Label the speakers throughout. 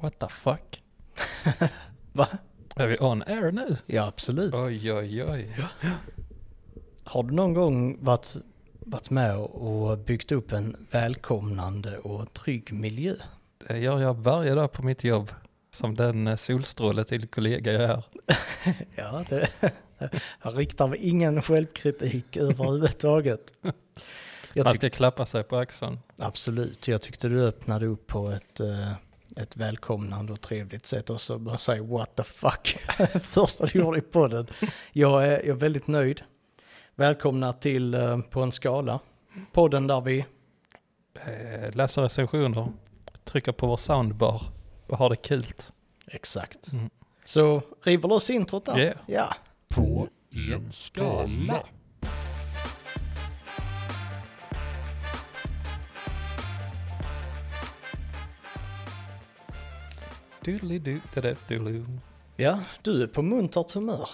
Speaker 1: What the fuck?
Speaker 2: Va?
Speaker 1: Är vi on air nu?
Speaker 2: Ja, absolut.
Speaker 1: Oj, oj, oj.
Speaker 2: Har du någon gång varit, varit med och byggt upp en välkomnande och trygg miljö?
Speaker 1: Det gör jag varje dag på mitt jobb. Som den eh, solstråle till kollega jag är.
Speaker 2: Ja, det, jag riktar mig ingen självkritik överhuvudtaget. Jag
Speaker 1: Man
Speaker 2: tyck,
Speaker 1: ska klappa sig på axeln.
Speaker 2: absolut, jag tyckte du öppnade upp på ett, eh, ett välkomnande och trevligt sätt och så bara säger what the fuck. Första du gjorde i podden. Jag är, jag är väldigt nöjd. Välkomna till eh, På en skala. Podden där vi
Speaker 1: Eh, Läser recensioner, trycker på vår soundbar och har det kul.
Speaker 2: Exakt.
Speaker 1: Mm.
Speaker 2: Så river loss introt där.
Speaker 1: Yeah.
Speaker 2: Ja.
Speaker 3: På en skala.
Speaker 1: Doodly-doo, da-da-doodloo.
Speaker 2: ja, du är på muntert humör.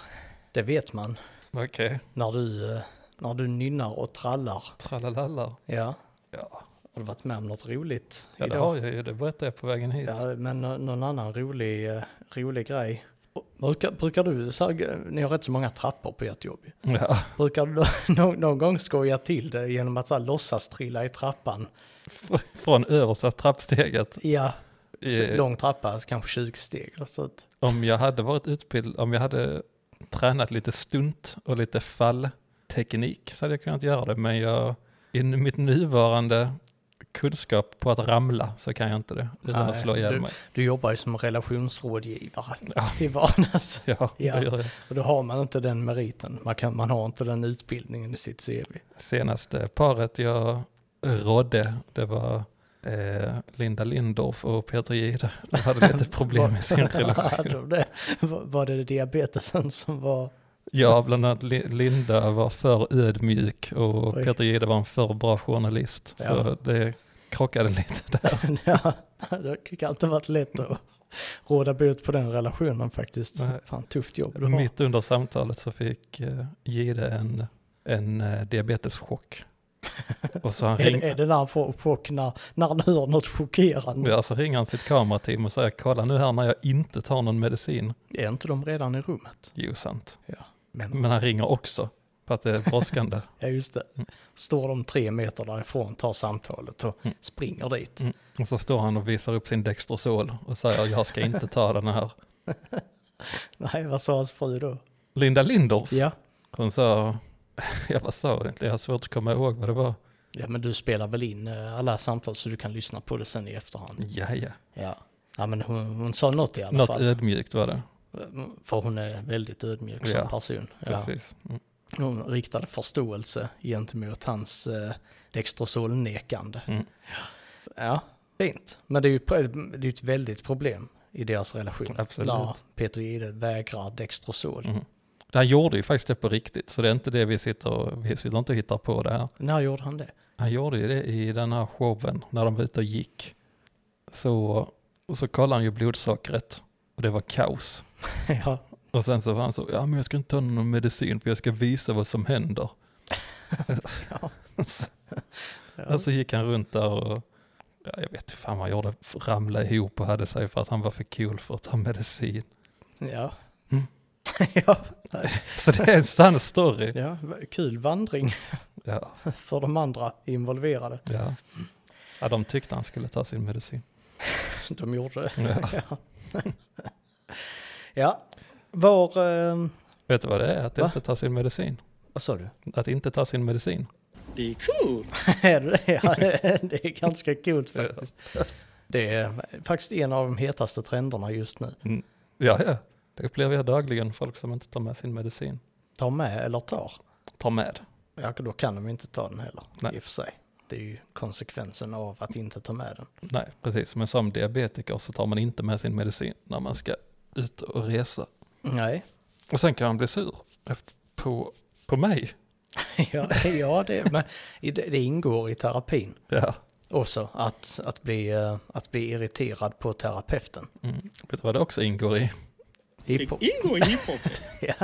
Speaker 2: Det vet man
Speaker 1: Okej, okay.
Speaker 2: när du, eh, när du nynnar och trallar.
Speaker 1: tralalala.
Speaker 2: Ja,
Speaker 1: Ja,
Speaker 2: har du varit med om något roligt
Speaker 1: ja det
Speaker 2: idag?
Speaker 1: har jag ju. Det berättade jag på vägen hit.
Speaker 2: Ja, men nå- någon annan rolig, eh, rolig grej. Och Brukar, brukar du, så här, g- ni har rätt så många trappor på ert jobb. ju.
Speaker 1: Ja.
Speaker 2: Brukar du nå- någon, någon gång skoja till det genom att så här, låtsas trilla i trappan?
Speaker 1: Fr- Från översta trappsteget.
Speaker 2: Ja, så
Speaker 1: Eh,
Speaker 2: lång trappa, så kanske 20 steg. eller Så att,
Speaker 1: Om jag hade varit utbildad, om jag hade tränat lite stunt och lite fallteknik så hade jag kunnat göra det. Men jag, i n- mitt nuvarande kunskap på att ramla så kan jag inte det utan att
Speaker 2: Nej,
Speaker 1: slå ihjäl mig.
Speaker 2: du jobbar ju som relationsrådgivare
Speaker 1: Ja.
Speaker 2: till vardags.
Speaker 1: Ja,
Speaker 2: Ja.
Speaker 1: det gör jag.
Speaker 2: Och då har man inte den meriten. Man, kan, man har inte den utbildningen i sitt CV.
Speaker 1: Senaste paret jag rådde, det var eh, Linda Lindorff och Peter Jihde. De hade lite problem i sin relation.
Speaker 2: Hade de det? Var- Var det diabetesen som var...
Speaker 1: Ja, bland annat Li- Linda var för ödmjuk och
Speaker 2: Oj.
Speaker 1: Peter Jihde var en för bra journalist.
Speaker 2: Ja.
Speaker 1: Så det krockade lite där.
Speaker 2: ja, det kan inte varit lätt att råda bot på den relationen faktiskt.
Speaker 1: Nej.
Speaker 2: Fan, tufft jobb du har.
Speaker 1: Mitt under samtalet så fick eh, Jihde en, en eh, diabeteschock. Och så han
Speaker 2: Är, det- är
Speaker 1: ring,
Speaker 2: det där han får chock när, när han hör något chockerande?
Speaker 1: ja, så ringer han sitt kamerateam och säger kolla nu här när jag inte tar någon medicin.
Speaker 2: Är inte de redan i rummet?
Speaker 1: Jo, sant.
Speaker 2: Men,
Speaker 1: Men han ringer också för att det är brådskande.
Speaker 2: ja, just det.
Speaker 1: Mm.
Speaker 2: Står de tre meter därifrån, tar samtalet och
Speaker 1: Mm.
Speaker 2: springer dit.
Speaker 1: Mm. Och så står han och visar upp sin Dextrosol och säger jag ska inte ta den här.
Speaker 2: Nej, vad sa hans fru då?
Speaker 1: Linda Lindorff.
Speaker 2: Ja.
Speaker 1: Hon sa, jag vad sa hon egentligen? Jag har svårt att komma ihåg vad det var.
Speaker 2: Ja men du spelar väl in eh, alla samtal så du kan lyssna på det sen i efterhand.
Speaker 1: Ja, ja.
Speaker 2: Ja. Ja men hon, hon sa något i alla
Speaker 1: Mm. Något eh.
Speaker 2: fall.
Speaker 1: ödmjukt var det.
Speaker 2: För hon är väldigt ödmjuk som
Speaker 1: Ja,
Speaker 2: person. Ja.
Speaker 1: Precis. Mm.
Speaker 2: Hon riktade förståelse gentemot hans eh, dextrosolnekande.
Speaker 1: Mm.
Speaker 2: Ja, fint. Men det är ju pro- det är ett väldigt problem i deras relation.
Speaker 1: Absolut.
Speaker 2: När Peter Jihde vägrar dextrosol.
Speaker 1: Mm. Han gjorde ju faktiskt det på riktigt, så det är inte det vi sitter och, vi sitter inte och hittar på det här.
Speaker 2: När gjorde han det?
Speaker 1: Han gjorde ju det i den här showen när de var ute och gick. Så, och så kollade han ju blodsockret och det var kaos.
Speaker 2: ja.
Speaker 1: Och sen så var han så, ja men jag ska inte ta någon medicin för jag ska visa vad som händer.
Speaker 2: Ja.
Speaker 1: Och så gick han runt där och, ja, jag vet inte fan vad han gjorde, ramlade ihop och hade sig för att han var för cool för att ta medicin.
Speaker 2: Ja.
Speaker 1: Mm.
Speaker 2: ja.
Speaker 1: Så det är en sann story.
Speaker 2: ja, kul vandring
Speaker 1: Ja,
Speaker 2: för de andra involverade.
Speaker 1: ja. ja de tyckte han skulle ta sin medicin.
Speaker 2: De gjorde det.
Speaker 1: Ja.
Speaker 2: Ja, var... ehm,
Speaker 1: Vet du vad det är? Att
Speaker 2: Va?
Speaker 1: inte ta sin medicin.
Speaker 2: Vad sa du?
Speaker 1: Att inte ta sin medicin.
Speaker 3: Det är cool.
Speaker 2: Är det det? Ja, det det är ganska coolt faktiskt. Det är faktiskt en av de hetaste trenderna just nu.
Speaker 1: Mm. Ja, ja. Det upplever jag dagligen, folk som inte tar med sin medicin.
Speaker 2: Ta med eller tar.
Speaker 1: Ta med.
Speaker 2: Ja, då kan de ju inte ta den heller
Speaker 1: Nej.
Speaker 2: i och för sig. Det är ju konsekvensen av att inte ta med den.
Speaker 1: Nej, precis. Men som diabetiker så tar man inte med sin medicin när man ska ut och resa.
Speaker 2: Nej,
Speaker 1: Och sen kan han bli sur efter- på, på mig.
Speaker 2: ja, ja det, men i det, det ingår i terapin
Speaker 1: Ja.
Speaker 2: också att, att, bli, eh, att bli irriterad på terapeuten.
Speaker 1: Mm. Vet du vad det också ingår i?
Speaker 3: Det
Speaker 2: Hiphop.
Speaker 3: ingår i hiphopen.
Speaker 2: Ja,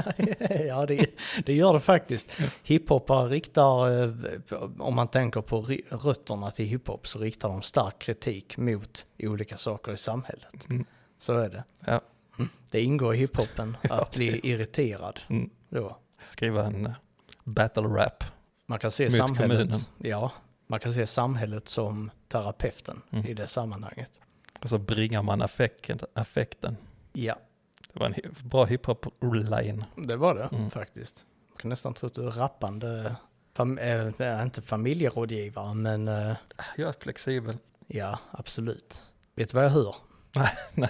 Speaker 2: ja det, det gör det faktiskt. Hiphopare riktar, eh, om man tänker på ri- rötterna till hiphop, så riktar de stark kritik mot olika saker i samhället.
Speaker 1: Mm.
Speaker 2: Så är det.
Speaker 1: Ja.
Speaker 2: Mm. Det ingår i hiphopen att
Speaker 1: det
Speaker 2: bli irriterad.
Speaker 1: Mm.
Speaker 2: Då.
Speaker 1: Skriva en eh, battle rap.
Speaker 2: Man kan se
Speaker 1: Mot
Speaker 2: samhället,
Speaker 1: kommunen.
Speaker 2: ja, man kan se samhället som terapeuten
Speaker 1: Mm.
Speaker 2: i det sammanhanget.
Speaker 1: Och så Alltså bringar man affekten. affekten.
Speaker 2: Ja,
Speaker 1: Det var en hi- bra hiphop-line.
Speaker 2: det var det
Speaker 1: Mm.
Speaker 2: faktiskt. Jag kan nästan tro att du är rappande, fam, eh, nej, inte familjerådgivare, men eh,
Speaker 1: Jag är flexibel.
Speaker 2: Ja, absolut. Vet du vad jag hör?
Speaker 1: Nej,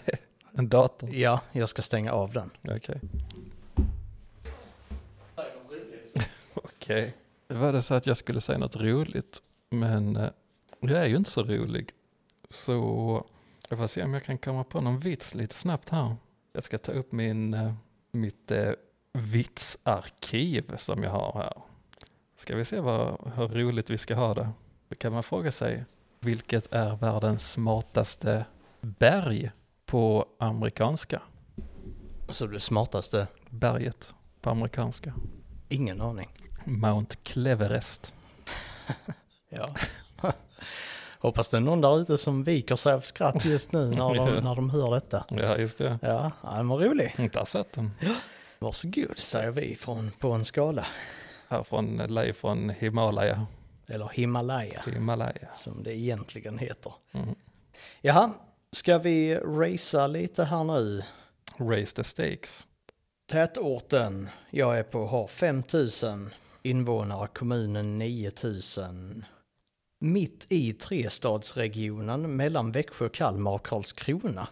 Speaker 1: en dator.
Speaker 2: Ja, jag ska stänga av den.
Speaker 1: Okej. Okej. Det var det så att jag skulle säga något roligt, men eh, jag är ju inte så rolig. Så jag får se om jag kan komma på någon vits lite snabbt här. Jag ska ta upp min, eh, mitt eh, vitsarkiv som jag har här. Ska vi se vad, hur roligt vi ska ha det. Då kan man fråga sig, vilket är världens smartaste berg på amerikanska?
Speaker 2: Så du smartaste?
Speaker 1: Berget på amerikanska.
Speaker 2: Ingen aning.
Speaker 1: Mount Cleverest.
Speaker 2: Ja. Hoppas det är någon där ute som viker sig av skratt just nu när
Speaker 1: Ja.
Speaker 2: de, när de hör detta.
Speaker 1: Ja, just det.
Speaker 2: Ja, ja, den var rolig.
Speaker 1: Inte har sett den.
Speaker 2: Varsågod, säger vi från, på en skala.
Speaker 1: Här från live från Himalaya.
Speaker 2: Eller Himalaya,
Speaker 1: Himalaya.
Speaker 2: som det egentligen heter.
Speaker 1: Mm.
Speaker 2: Jaha, ska vi racea lite här nu?
Speaker 1: Raise the stakes.
Speaker 2: Tätorten jag är på har 5000 invånare, kommunen 9000. Mitt i trestadsregionen mellan Växjö, Kalmar och Karlskrona.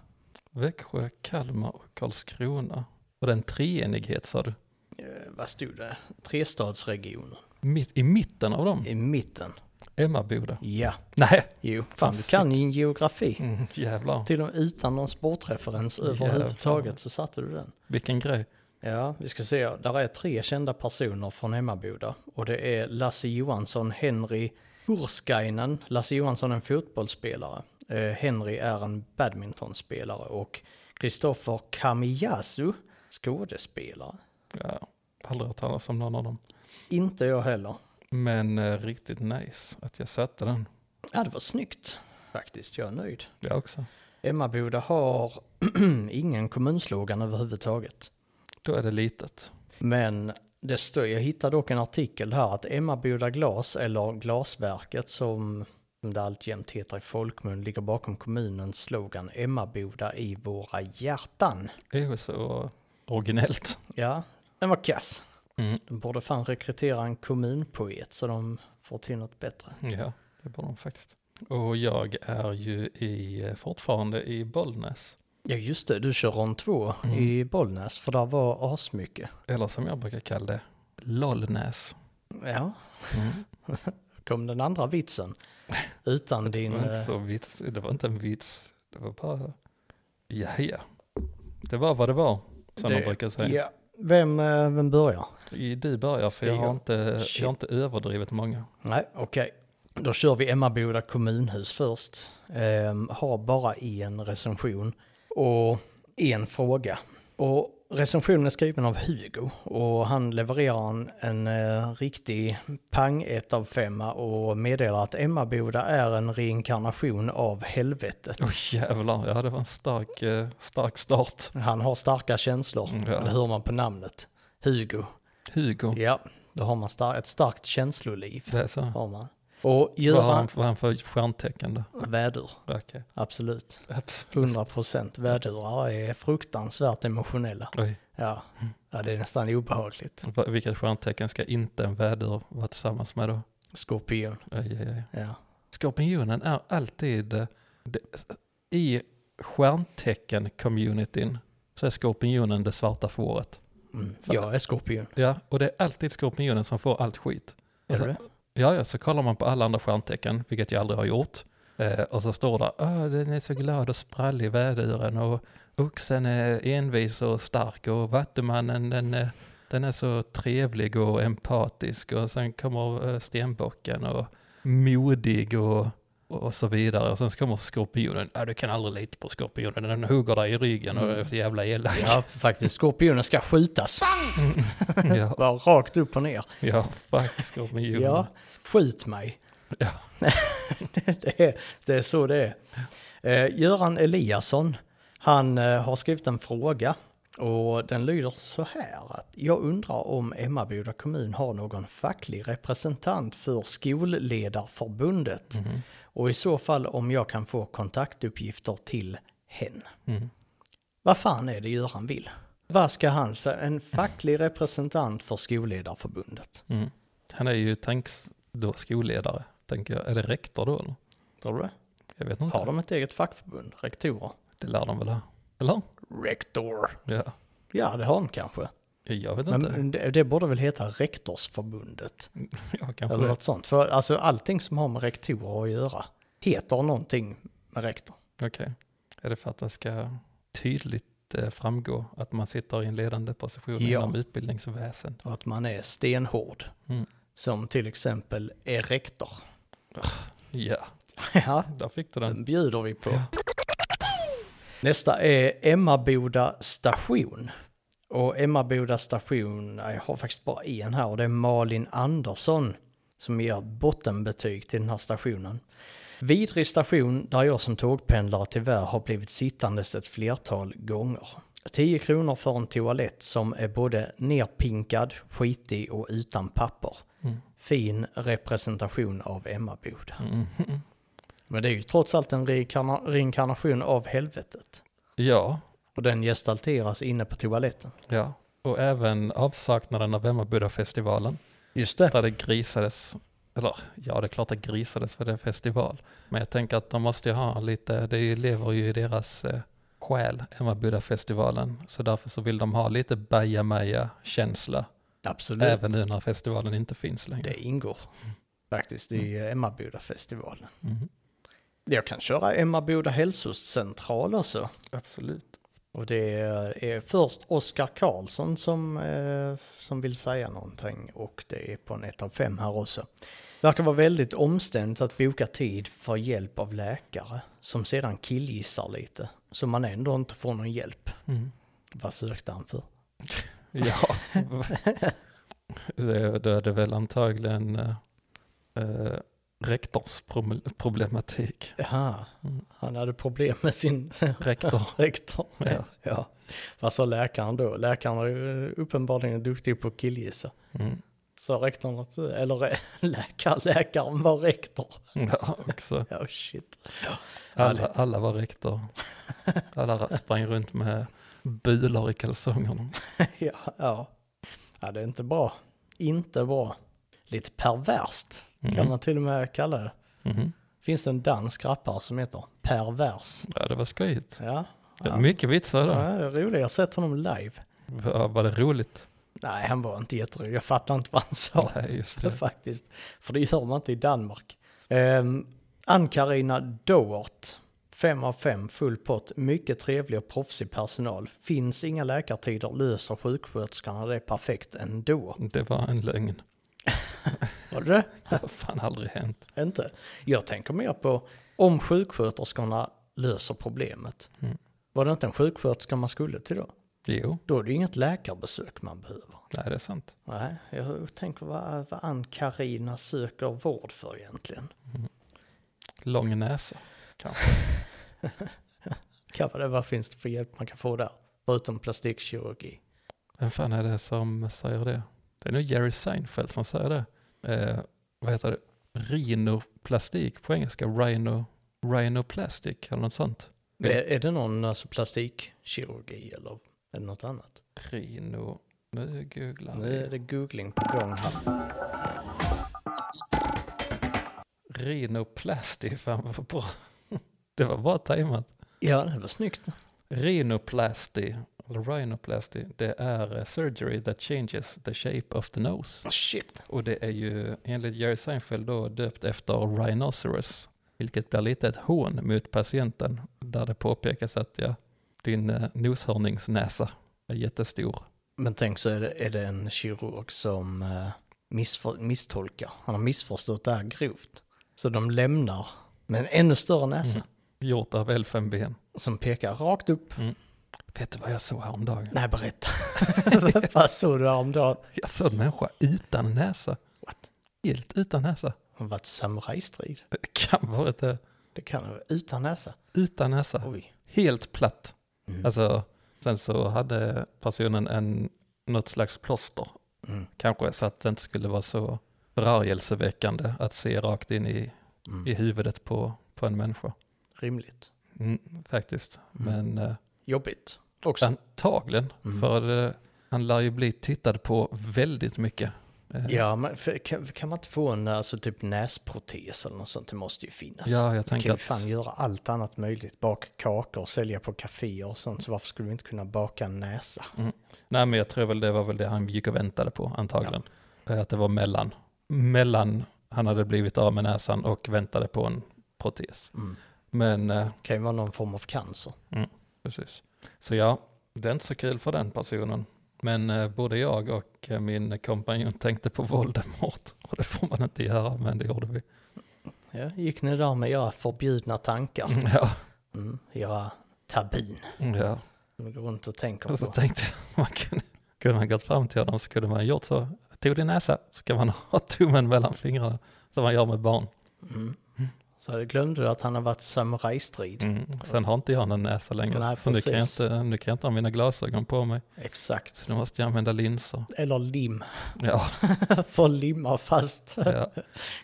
Speaker 1: Växjö, Kalmar och Karlskrona. Och den treenighet sa du.
Speaker 2: Eh, vad stod det? Trestadsregionen.
Speaker 1: Mitt, I mitten av dem.
Speaker 2: I mitten.
Speaker 1: Emmaboda.
Speaker 2: Ja,
Speaker 1: Nej.
Speaker 2: jo. Fan, du
Speaker 1: Fast-
Speaker 2: kan ju en geografi.
Speaker 1: Mm, jävlar.
Speaker 2: Till och med utan någon sportreferens
Speaker 1: Jävlar.
Speaker 2: överhuvudtaget så satte du den.
Speaker 1: Vilken grej.
Speaker 2: Ja, vi ska se. Där är tre kända personer från Emmaboda. Och det är Lasse Johansson, Henry Hurskainen. Lasse Johansson är en fotbollsspelare. Eh, Henry är en badmintonspelare. Och Kristoffer Kamiyasu, skådespelare.
Speaker 1: Ja, aldrig hört talas om någon av dem.
Speaker 2: Inte jag heller.
Speaker 1: Men eh, riktigt nice att jag satte den.
Speaker 2: Ja, det var snyggt faktiskt. Jag är nöjd.
Speaker 1: Jag också.
Speaker 2: Emmaboda har ingen kommunslogan överhuvudtaget.
Speaker 1: Då är det litet.
Speaker 2: Men det står, jag hittade dock en artikel här att Emmaboda Glas, eller Glasverket som det alltjämt heter i folkmun, ligger bakom kommunens slogan Emmaboda i våra hjärtan.
Speaker 1: Det är ju så originellt.
Speaker 2: Ja, den var kass.
Speaker 1: Mm.
Speaker 2: De borde fan rekrytera en kommunpoet så de får till något bättre.
Speaker 1: Ja, det borde de faktiskt. Och jag är ju i, fortfarande i Bollnäs.
Speaker 2: Ja just det, du kör rond två
Speaker 1: Mm.
Speaker 2: i Bollnäs för där var asmycket.
Speaker 1: Eller som jag brukar kalla det, Lollnäs.
Speaker 2: Ja,
Speaker 1: Mm.
Speaker 2: kom den andra vitsen. Utan
Speaker 1: Det,
Speaker 2: din...
Speaker 1: var inte
Speaker 2: eh,
Speaker 1: så vits, det var inte en vits, det var bara, ja ja. Det var vad det var, som
Speaker 2: Det-
Speaker 1: man brukar säga.
Speaker 2: Ja, vem, eh, vem börjar?
Speaker 1: I Du börjar, för jag
Speaker 2: Ska
Speaker 1: har,
Speaker 2: jag?
Speaker 1: inte, jag har inte överdrivet många.
Speaker 2: Nej, okej. Då kör vi Emmaboda kommunhus först. Ehm, har bara en recension och en fråga. Och recensionen är skriven av Hugo och han levererar en, en eh, riktig pang ett av femma och meddelar att Emmaboda är en reinkarnation av helvetet.
Speaker 1: Åh jävlar, ja det var en stark, eh, stark start.
Speaker 2: Han har starka känslor,
Speaker 1: Mm, ja.
Speaker 2: det hör man på namnet. Hugo.
Speaker 1: Hugo,
Speaker 2: Ja, då har man star- ett starkt känsloliv.
Speaker 1: det är så.
Speaker 2: Har man. Och
Speaker 1: Vad har han,
Speaker 2: Göran,
Speaker 1: vad har han för stjärntecken då?
Speaker 2: vädur,
Speaker 1: Okej,
Speaker 2: absolut.
Speaker 1: absolut.
Speaker 2: 100% vädurar är fruktansvärt emotionella.
Speaker 1: Oj,
Speaker 2: Ja. ja, det är nästan obehagligt.
Speaker 1: va- vilket stjärntecken ska inte en vädur vara tillsammans med då?
Speaker 2: Skorpion,
Speaker 1: Aj, aj, aj.
Speaker 2: ja.
Speaker 1: Skorpionen är alltid eh, det, i stjärntecken-communityn så är skorpionen det svarta fåret.
Speaker 2: Mm. Jag är skorpion.
Speaker 1: Ja, och det är alltid skorpionen som får allt skit. Alltså,
Speaker 2: Är du det?
Speaker 1: Ja, ja, så kollar man på alla andra stjärntecken, vilket jag aldrig har gjort. Eh, och så står det, Åh, den är så glad och sprallig väduren och oxen är envis och stark och vattumannen den, är- den är så trevlig och empatisk och sen kommer eh, stenbocken och modig och och så vidare. Och sen så kommer skorpionen. Ja, du kan aldrig lita på skorpionen. Den hugger dig i ryggen och är så jävla elak. Ja.
Speaker 2: Ja, faktiskt. Skorpionen ska skjutas.
Speaker 1: ja,
Speaker 2: Bara rakt upp och ner.
Speaker 1: fuck skorpionen.
Speaker 2: Ja, skjut mig.
Speaker 1: Ja.
Speaker 2: det, är, det är så det är. Eh, Göran Eliasson, han eh, har skrivit en fråga och den lyder så här att jag undrar om Emmaboda kommun har någon facklig representant för skolledarförbundet
Speaker 1: Mhm.
Speaker 2: och i så fall om jag kan få kontaktuppgifter till hen.
Speaker 1: Mm.
Speaker 2: Vad fan är det Göran vill? Vad ska han säga? En facklig representant för skolledarförbundet.
Speaker 1: Mm. Han är ju tanks då skolledare, tänker jag. Är det rektor då eller?
Speaker 2: Tror du det?
Speaker 1: Jag vet inte.
Speaker 2: Har de ett eget fackförbund? Rektorer?
Speaker 1: Det lär de väl ha. Eller?
Speaker 2: Rektor.
Speaker 1: Ja.
Speaker 2: Ja, det har de kanske.
Speaker 1: Jag vet inte.
Speaker 2: Men det, det borde väl heta Rektorsförbundet.
Speaker 1: ja, kanske
Speaker 2: Eller
Speaker 1: det.
Speaker 2: något sånt. För alltså allting som har med rektorer att göra heter någonting med rektor.
Speaker 1: Okej. Är det för att det ska tydligt eh, framgå att man sitter i en ledande position
Speaker 2: Ja.
Speaker 1: inom utbildningsväsen?
Speaker 2: Och att man är stenhård.
Speaker 1: Mm.
Speaker 2: Som till exempel är rektor.
Speaker 1: Ja,
Speaker 2: Ja,
Speaker 1: där fick du
Speaker 2: den
Speaker 1: den.
Speaker 2: bjuder vi på. Nästa är Emmaboda station. Och Emmaboda station, nej, jag har faktiskt bara en här och det är Malin Andersson som ger bottenbetyg till den här stationen. Vidrig station där jag som tågpendlare tyvärr har blivit sittandes ett flertal gånger. 10 kronor för en toalett som är både nerpinkad, skitig och utan papper.
Speaker 1: Mm.
Speaker 2: Fin representation av Emmaboda.
Speaker 1: Mm.
Speaker 2: Men det är ju trots allt en reinkarna- reinkarnation av helvetet.
Speaker 1: Ja,
Speaker 2: Och den gestalteras inne på toaletten.
Speaker 1: ja. Och även avsaknaden av Emmaboda-festivalen.
Speaker 2: Just det.
Speaker 1: Där det grisades, eller ja det är klart det grisades för det är festival. Men jag tänker att de måste ju ha lite, det lever ju i deras eh, själ, Emmaboda-festivalen. Så därför så vill de ha lite bajamaja-känsla.
Speaker 2: Absolut.
Speaker 1: Även nu när festivalen inte finns längre.
Speaker 2: Det ingår faktiskt i Emmaboda-festivalen.
Speaker 1: Mhm.
Speaker 2: Jag kan köra Emmaboda hälsocentral också.
Speaker 1: Absolut.
Speaker 2: Och det är först Oskar Karlsson som, eh, som vill säga någonting och det är på en 1 av 5 här också. Verkar vara väldigt omständigt att boka tid för hjälp av läkare som sedan killgissar lite. Så man ändå inte får någon hjälp.
Speaker 1: Mm.
Speaker 2: Vad sökte han för?
Speaker 1: Ja, det, då är det väl antagligen eh, eh, rektorsproblematik.
Speaker 2: Jaha,
Speaker 1: Mm.
Speaker 2: han hade problem med sin
Speaker 1: Rektor.
Speaker 2: rektor.
Speaker 1: Ja.
Speaker 2: Ja. Vad sa läkaren då? Läkaren var ju eh, uppenbarligen duktig på att killgissa.
Speaker 1: Mm.
Speaker 2: Sa rektorn att, eh, eller läkaren, läkaren var rektor.
Speaker 1: Ja, också.
Speaker 2: Ja, shit.
Speaker 1: Alla, alla var rektor. Alla sprang runt med bulor i kalsongerna. Mm.
Speaker 2: Ja, ja. ja, det är inte bra. Inte bra. Lite perverst kan
Speaker 1: Mm.
Speaker 2: man till och med kalla det.
Speaker 1: Mhm.
Speaker 2: Finns det en dansk rappare som heter Pervers?
Speaker 1: Ja, det var skojigt.
Speaker 2: Ja,
Speaker 1: Ja. Mycket vitsar
Speaker 2: ja
Speaker 1: då.
Speaker 2: det är roligt. Jag har sett honom live.
Speaker 1: Ja, var det roligt?
Speaker 2: Nej, han var inte jätterolig. Jag fattar inte vad han sa.
Speaker 1: Nej, just
Speaker 2: det
Speaker 1: det.
Speaker 2: faktiskt. För det gör man inte i Danmark. Ehm, Ann-Karina Doort, 5 av 5, full pott, mycket trevlig och proffsig personal. Finns inga läkartider, löser sjuksköterskorna det perfekt ändå.
Speaker 1: Det var en lögn.
Speaker 2: Var det
Speaker 1: Det har fan aldrig hänt.
Speaker 2: det? Inte? Jag tänker mer på om sjuksköterskorna löser problemet.
Speaker 1: Mm.
Speaker 2: Var det inte en sjuksköterska man skulle till då?
Speaker 1: Jo,
Speaker 2: Då är det ju inget läkarbesök man behöver.
Speaker 1: nej, det är sant.
Speaker 2: Nej, jag tänker vad, vad Ann-Karina söker vård för egentligen.
Speaker 1: Lång näsa.
Speaker 2: Kan det, vad finns det för hjälp man kan få där? Förutom plastikkirurgi.
Speaker 1: Vem fan är det som säger det? Det är nog Jerry Seinfeld som säger det. Eh, vad heter det? Rhinoplastik på engelska. Rhino, rhinoplastic eller något sånt. Ja.
Speaker 2: Är, är det någon alltså, plastikkirurgi eller är det något annat?
Speaker 1: Rhino... Nu googlar
Speaker 2: Nu är det
Speaker 1: vi.
Speaker 2: googling på gång här.
Speaker 1: Rhinoplasty, fan vad bra. Det var bra tajmat.
Speaker 2: Ja, det var snyggt.
Speaker 1: Rhinoplasty, eller rhinoplasty, det är eh, surgery that changes the shape of the nose.
Speaker 2: Shit.
Speaker 1: Och det är ju enligt Jerry Seinfeld då döpt efter Rhinoceros, vilket blir lite ett hån mot patienten där det påpekas att ja, din eh, noshörningsnäsa är jättestor.
Speaker 2: Men tänk så är det, är det en kirurg som eh, missför, misstolkar. Han har missförstått det här grovt. Så de lämnar Med en ännu större näsa.
Speaker 1: Mm. Gjort av elfenben.
Speaker 2: Som pekar rakt upp.
Speaker 1: Vet du vad jag såg häromdagen?
Speaker 2: Nej, berätta. Vad såg du häromdagen?
Speaker 1: Jag såg en människa utan näsa.
Speaker 2: What?
Speaker 1: Helt utan näsa.
Speaker 2: Har det varit samurajstrid?
Speaker 1: Det kan vara inte.
Speaker 2: Det kan det vara. Utan näsa?
Speaker 1: Utan näsa.
Speaker 2: Oj.
Speaker 1: Helt platt.
Speaker 2: Mm.
Speaker 1: Alltså, sen så hade personen en, något slags plåster.
Speaker 2: Mm.
Speaker 1: Kanske så att det inte skulle vara så förargelseväckande att se rakt in i,
Speaker 2: Mm.
Speaker 1: i huvudet på, på en människa.
Speaker 2: Rimligt.
Speaker 1: Mm, faktiskt. Men eh,
Speaker 2: Jobbigt också.
Speaker 1: antagligen,
Speaker 2: Mm.
Speaker 1: för eh, han lär ju bli tittad på väldigt mycket. Eh,
Speaker 2: Ja, men för, kan, kan man inte få en alltså, typ näsprotes eller något sånt? alltså, Det måste ju finnas.
Speaker 1: ja, jag
Speaker 2: Vi kan
Speaker 1: tänker
Speaker 2: ju
Speaker 1: att
Speaker 2: fan göra allt annat möjligt. Baka kakor, sälja på kaféer och sånt. Så varför skulle vi inte kunna baka en näsa?
Speaker 1: Nej, men jag tror väl det var väl det han gick och väntade på antagligen. Eh, Att det var mellan. Mellan han hade blivit av med näsan och väntade på en protes.
Speaker 2: Mm.
Speaker 1: Men eh,
Speaker 2: Kan ju vara någon form av cancer.
Speaker 1: precis. Så ja, det är inte så kul för den personen. Men eh, både jag och eh, min kompanjon tänkte på Voldemort. Och det får man inte göra, men det gjorde vi.
Speaker 2: Ja, gick ni där med era förbjudna tankar?
Speaker 1: Ja,
Speaker 2: Mm. Era tabin.
Speaker 1: ja.
Speaker 2: Som går runt och tänker
Speaker 1: Och så
Speaker 2: på.
Speaker 1: tänkte jag, man kunde, kunde man gått fram till honom så kunde man gjort så. Tog din näsa, så kan man ha tummen mellan fingrarna. Som man gör med barn.
Speaker 2: Mm. Så glömde du att han har varit i samurajstrid.
Speaker 1: Mm. Sen har inte jag någon näsa längre,
Speaker 2: Nej,
Speaker 1: så nu kan, jag
Speaker 2: precis.
Speaker 1: inte, nu kan jag inte ha mina glasögon på mig.
Speaker 2: Exakt.
Speaker 1: Så nu måste jag använda linser.
Speaker 2: Eller lim.
Speaker 1: Ja,
Speaker 2: För att limma fast
Speaker 1: ja.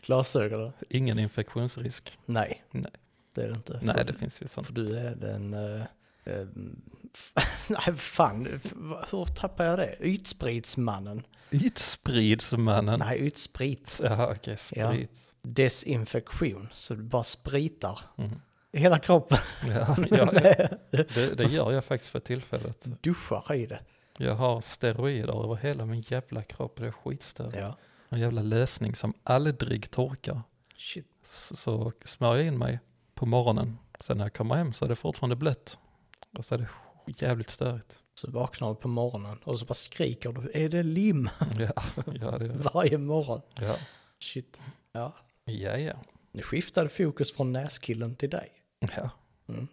Speaker 2: glasögonen.
Speaker 1: Ingen infektionsrisk.
Speaker 2: Nej.
Speaker 1: Nej.
Speaker 2: Det är det inte.
Speaker 1: Nej,
Speaker 2: För-
Speaker 1: det finns ju sånt.
Speaker 2: För du är den... eh, eh, nej, fan. f- va- Hur tappar jag det? Ytspritsmannen.
Speaker 1: Mm. Ytspridsmannen.
Speaker 2: Nej, ytsprit.
Speaker 1: Ja, okej, sprids.
Speaker 2: Desinfektion. Så du bara spritar
Speaker 1: Mm.
Speaker 2: i hela kroppen.
Speaker 1: Ja, ja, ja. Det, det gör jag faktiskt för tillfället.
Speaker 2: Duschar i det.
Speaker 1: Jag har steroider över hela min jävla kropp, det är skitstörigt.
Speaker 2: Ja.
Speaker 1: En jävla lösning som aldrig torkar.
Speaker 2: Shit.
Speaker 1: så, så smörjer jag in mig på morgonen. Sen när jag kommer hem så är det fortfarande blött. Och så är det jävligt störigt.
Speaker 2: Så vaknar du på morgonen och så bara skriker du. Är det lim?
Speaker 1: Ja, ja, det,
Speaker 2: Varje morgon.
Speaker 1: ja.
Speaker 2: Shit. Ja.
Speaker 1: ja, ja.
Speaker 2: Nu skiftade fokus från näskillen till dig.
Speaker 1: ja.
Speaker 2: Mm.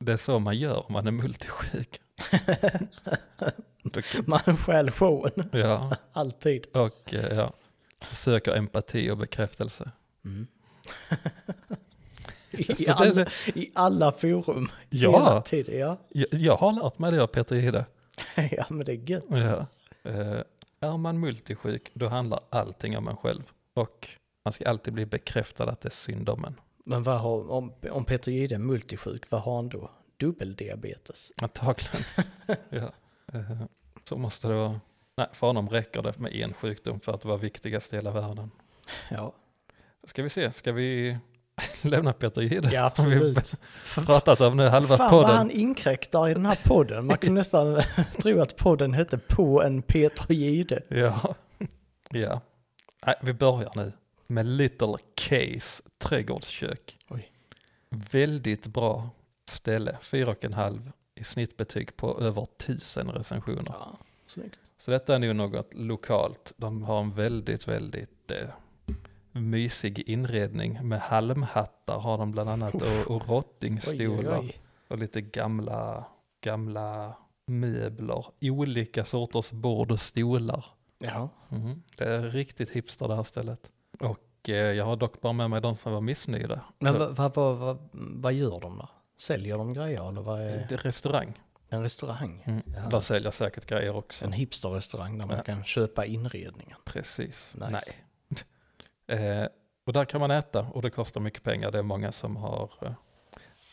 Speaker 1: Det är så man gör om man är multisjuk. Då-
Speaker 2: Man stjäl showen.
Speaker 1: ja,
Speaker 2: Alltid.
Speaker 1: och eh, ja. söker empati och bekräftelse.
Speaker 2: I,
Speaker 1: Så Alltså, det är
Speaker 2: Mm. alla, I alla forum. Hela
Speaker 1: Ja,
Speaker 2: tiden. Ja.
Speaker 1: jag, jag har lärt mig det av Peter Jihde.
Speaker 2: ja, men det är gött.
Speaker 1: Ja. Eh, är man multisjuk, då handlar allting om en själv. Och man ska alltid bli bekräftad att det är synd om en.
Speaker 2: Men vad har, om, om Peter Jihde är multisjuk, vad har han då? Dubbeldiabetes?
Speaker 1: Antagligen. ja. Eh, Så måste det vara. Nej, för honom räcker det med en sjukdom för att vara viktigast i hela världen.
Speaker 2: Ja,
Speaker 1: Ska vi se, ska vi lämna Peter Jihde?
Speaker 2: ja
Speaker 1: Som
Speaker 2: absolut.
Speaker 1: Vi har pratat om nu halva
Speaker 2: Fan vad
Speaker 1: podden.
Speaker 2: han inkräktar i den här podden. Man kunde nästan tro att podden hette På en Peter Jihde.
Speaker 1: Ja. ja. Nej, vi börjar nu med Little Case trädgårdskök.
Speaker 2: Oj.
Speaker 1: Väldigt bra ställe, fyra och en halv i snittbetyg på över tusen recensioner.
Speaker 2: Ja, snyggt.
Speaker 1: Så detta är nog något lokalt. De har en väldigt, väldigt eh, mysig inredning med halmhattar har de bland annat och, och
Speaker 2: Oj, oj,
Speaker 1: rottingstolar
Speaker 2: oj.
Speaker 1: och lite gamla, gamla möbler. Olika sorters bord och stolar.
Speaker 2: Ja,
Speaker 1: Mhm. Det är riktigt hipster det här stället. Och eh, jag har dock bara med mig de som var missnöjda.
Speaker 2: men
Speaker 1: Ja.
Speaker 2: vad, vad, vad, vad, vad gör de då? Säljer de grejer eller vad är
Speaker 1: Det är Restaurang.
Speaker 2: en restaurang?
Speaker 1: Mm.
Speaker 2: Ja.
Speaker 1: Där säljer säkert grejer också.
Speaker 2: En hipsterrestaurang där man
Speaker 1: Ja.
Speaker 2: kan köpa inredningen.
Speaker 1: Precis.
Speaker 2: Nice.
Speaker 1: Nej. eh, och där kan man äta och det kostar mycket pengar. Det är många som har, eh,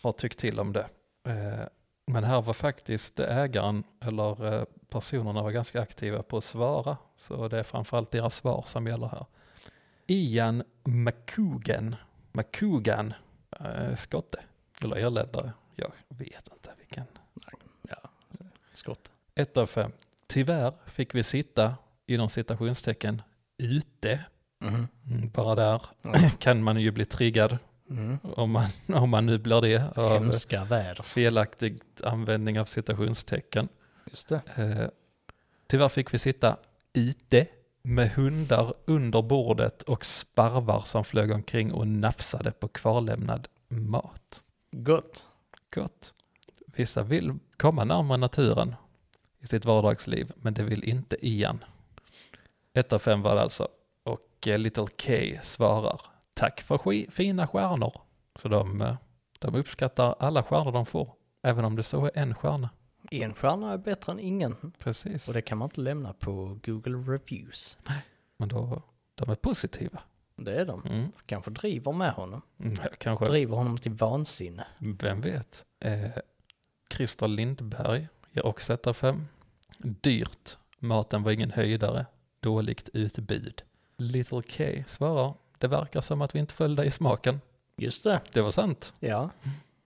Speaker 1: har tyckt till om det. Eh, men här var faktiskt ägaren eller eh, personerna var ganska aktiva på att svara. Så det är framförallt deras svar som gäller här. Ian McCugan, McCugan eh, skotte, eller irländare, jag vet inte vilken.
Speaker 2: Skott.
Speaker 1: Ett av fem. Tyvärr fick vi sitta, inom citationstecken, ute
Speaker 2: Mhm.
Speaker 1: Mm, Bara där
Speaker 2: Ja.
Speaker 1: kan man ju bli triggad
Speaker 2: Mm.
Speaker 1: om man, om man nu blir det av
Speaker 2: Hemska väder.
Speaker 1: felaktig användning av citationstecken.
Speaker 2: Just det.
Speaker 1: Eh, tyvärr fick vi sitta ute med hundar under bordet och sparvar som flög omkring och nafsade på kvarlämnad mat.
Speaker 2: Gott.
Speaker 1: Gott. Vissa vill komma närmare naturen i sitt vardagsliv, men det vill inte Ian. Ett av fem var det alltså. Och eh, Little K svarar tack för ski- fina stjärnor. Så de, eh, de uppskattar alla stjärnor de får, även om det så är en stjärna.
Speaker 2: En stjärna är bättre än ingen.
Speaker 1: Precis.
Speaker 2: Och det kan man inte lämna på Google Reviews.
Speaker 1: Men då, de är positiva.
Speaker 2: Det är de.
Speaker 1: Mm.
Speaker 2: Kanske driver med honom.
Speaker 1: Mm, Kanske
Speaker 2: Driver honom till vansinne.
Speaker 1: Vem vet? Eh, Christer Lindberg ger också ett av fem. Dyrt. Maten var ingen höjdare. Dåligt utbud. Little K svarar. Det verkar som att vi inte föll dig i smaken.
Speaker 2: Just det.
Speaker 1: Det var sant.
Speaker 2: Ja.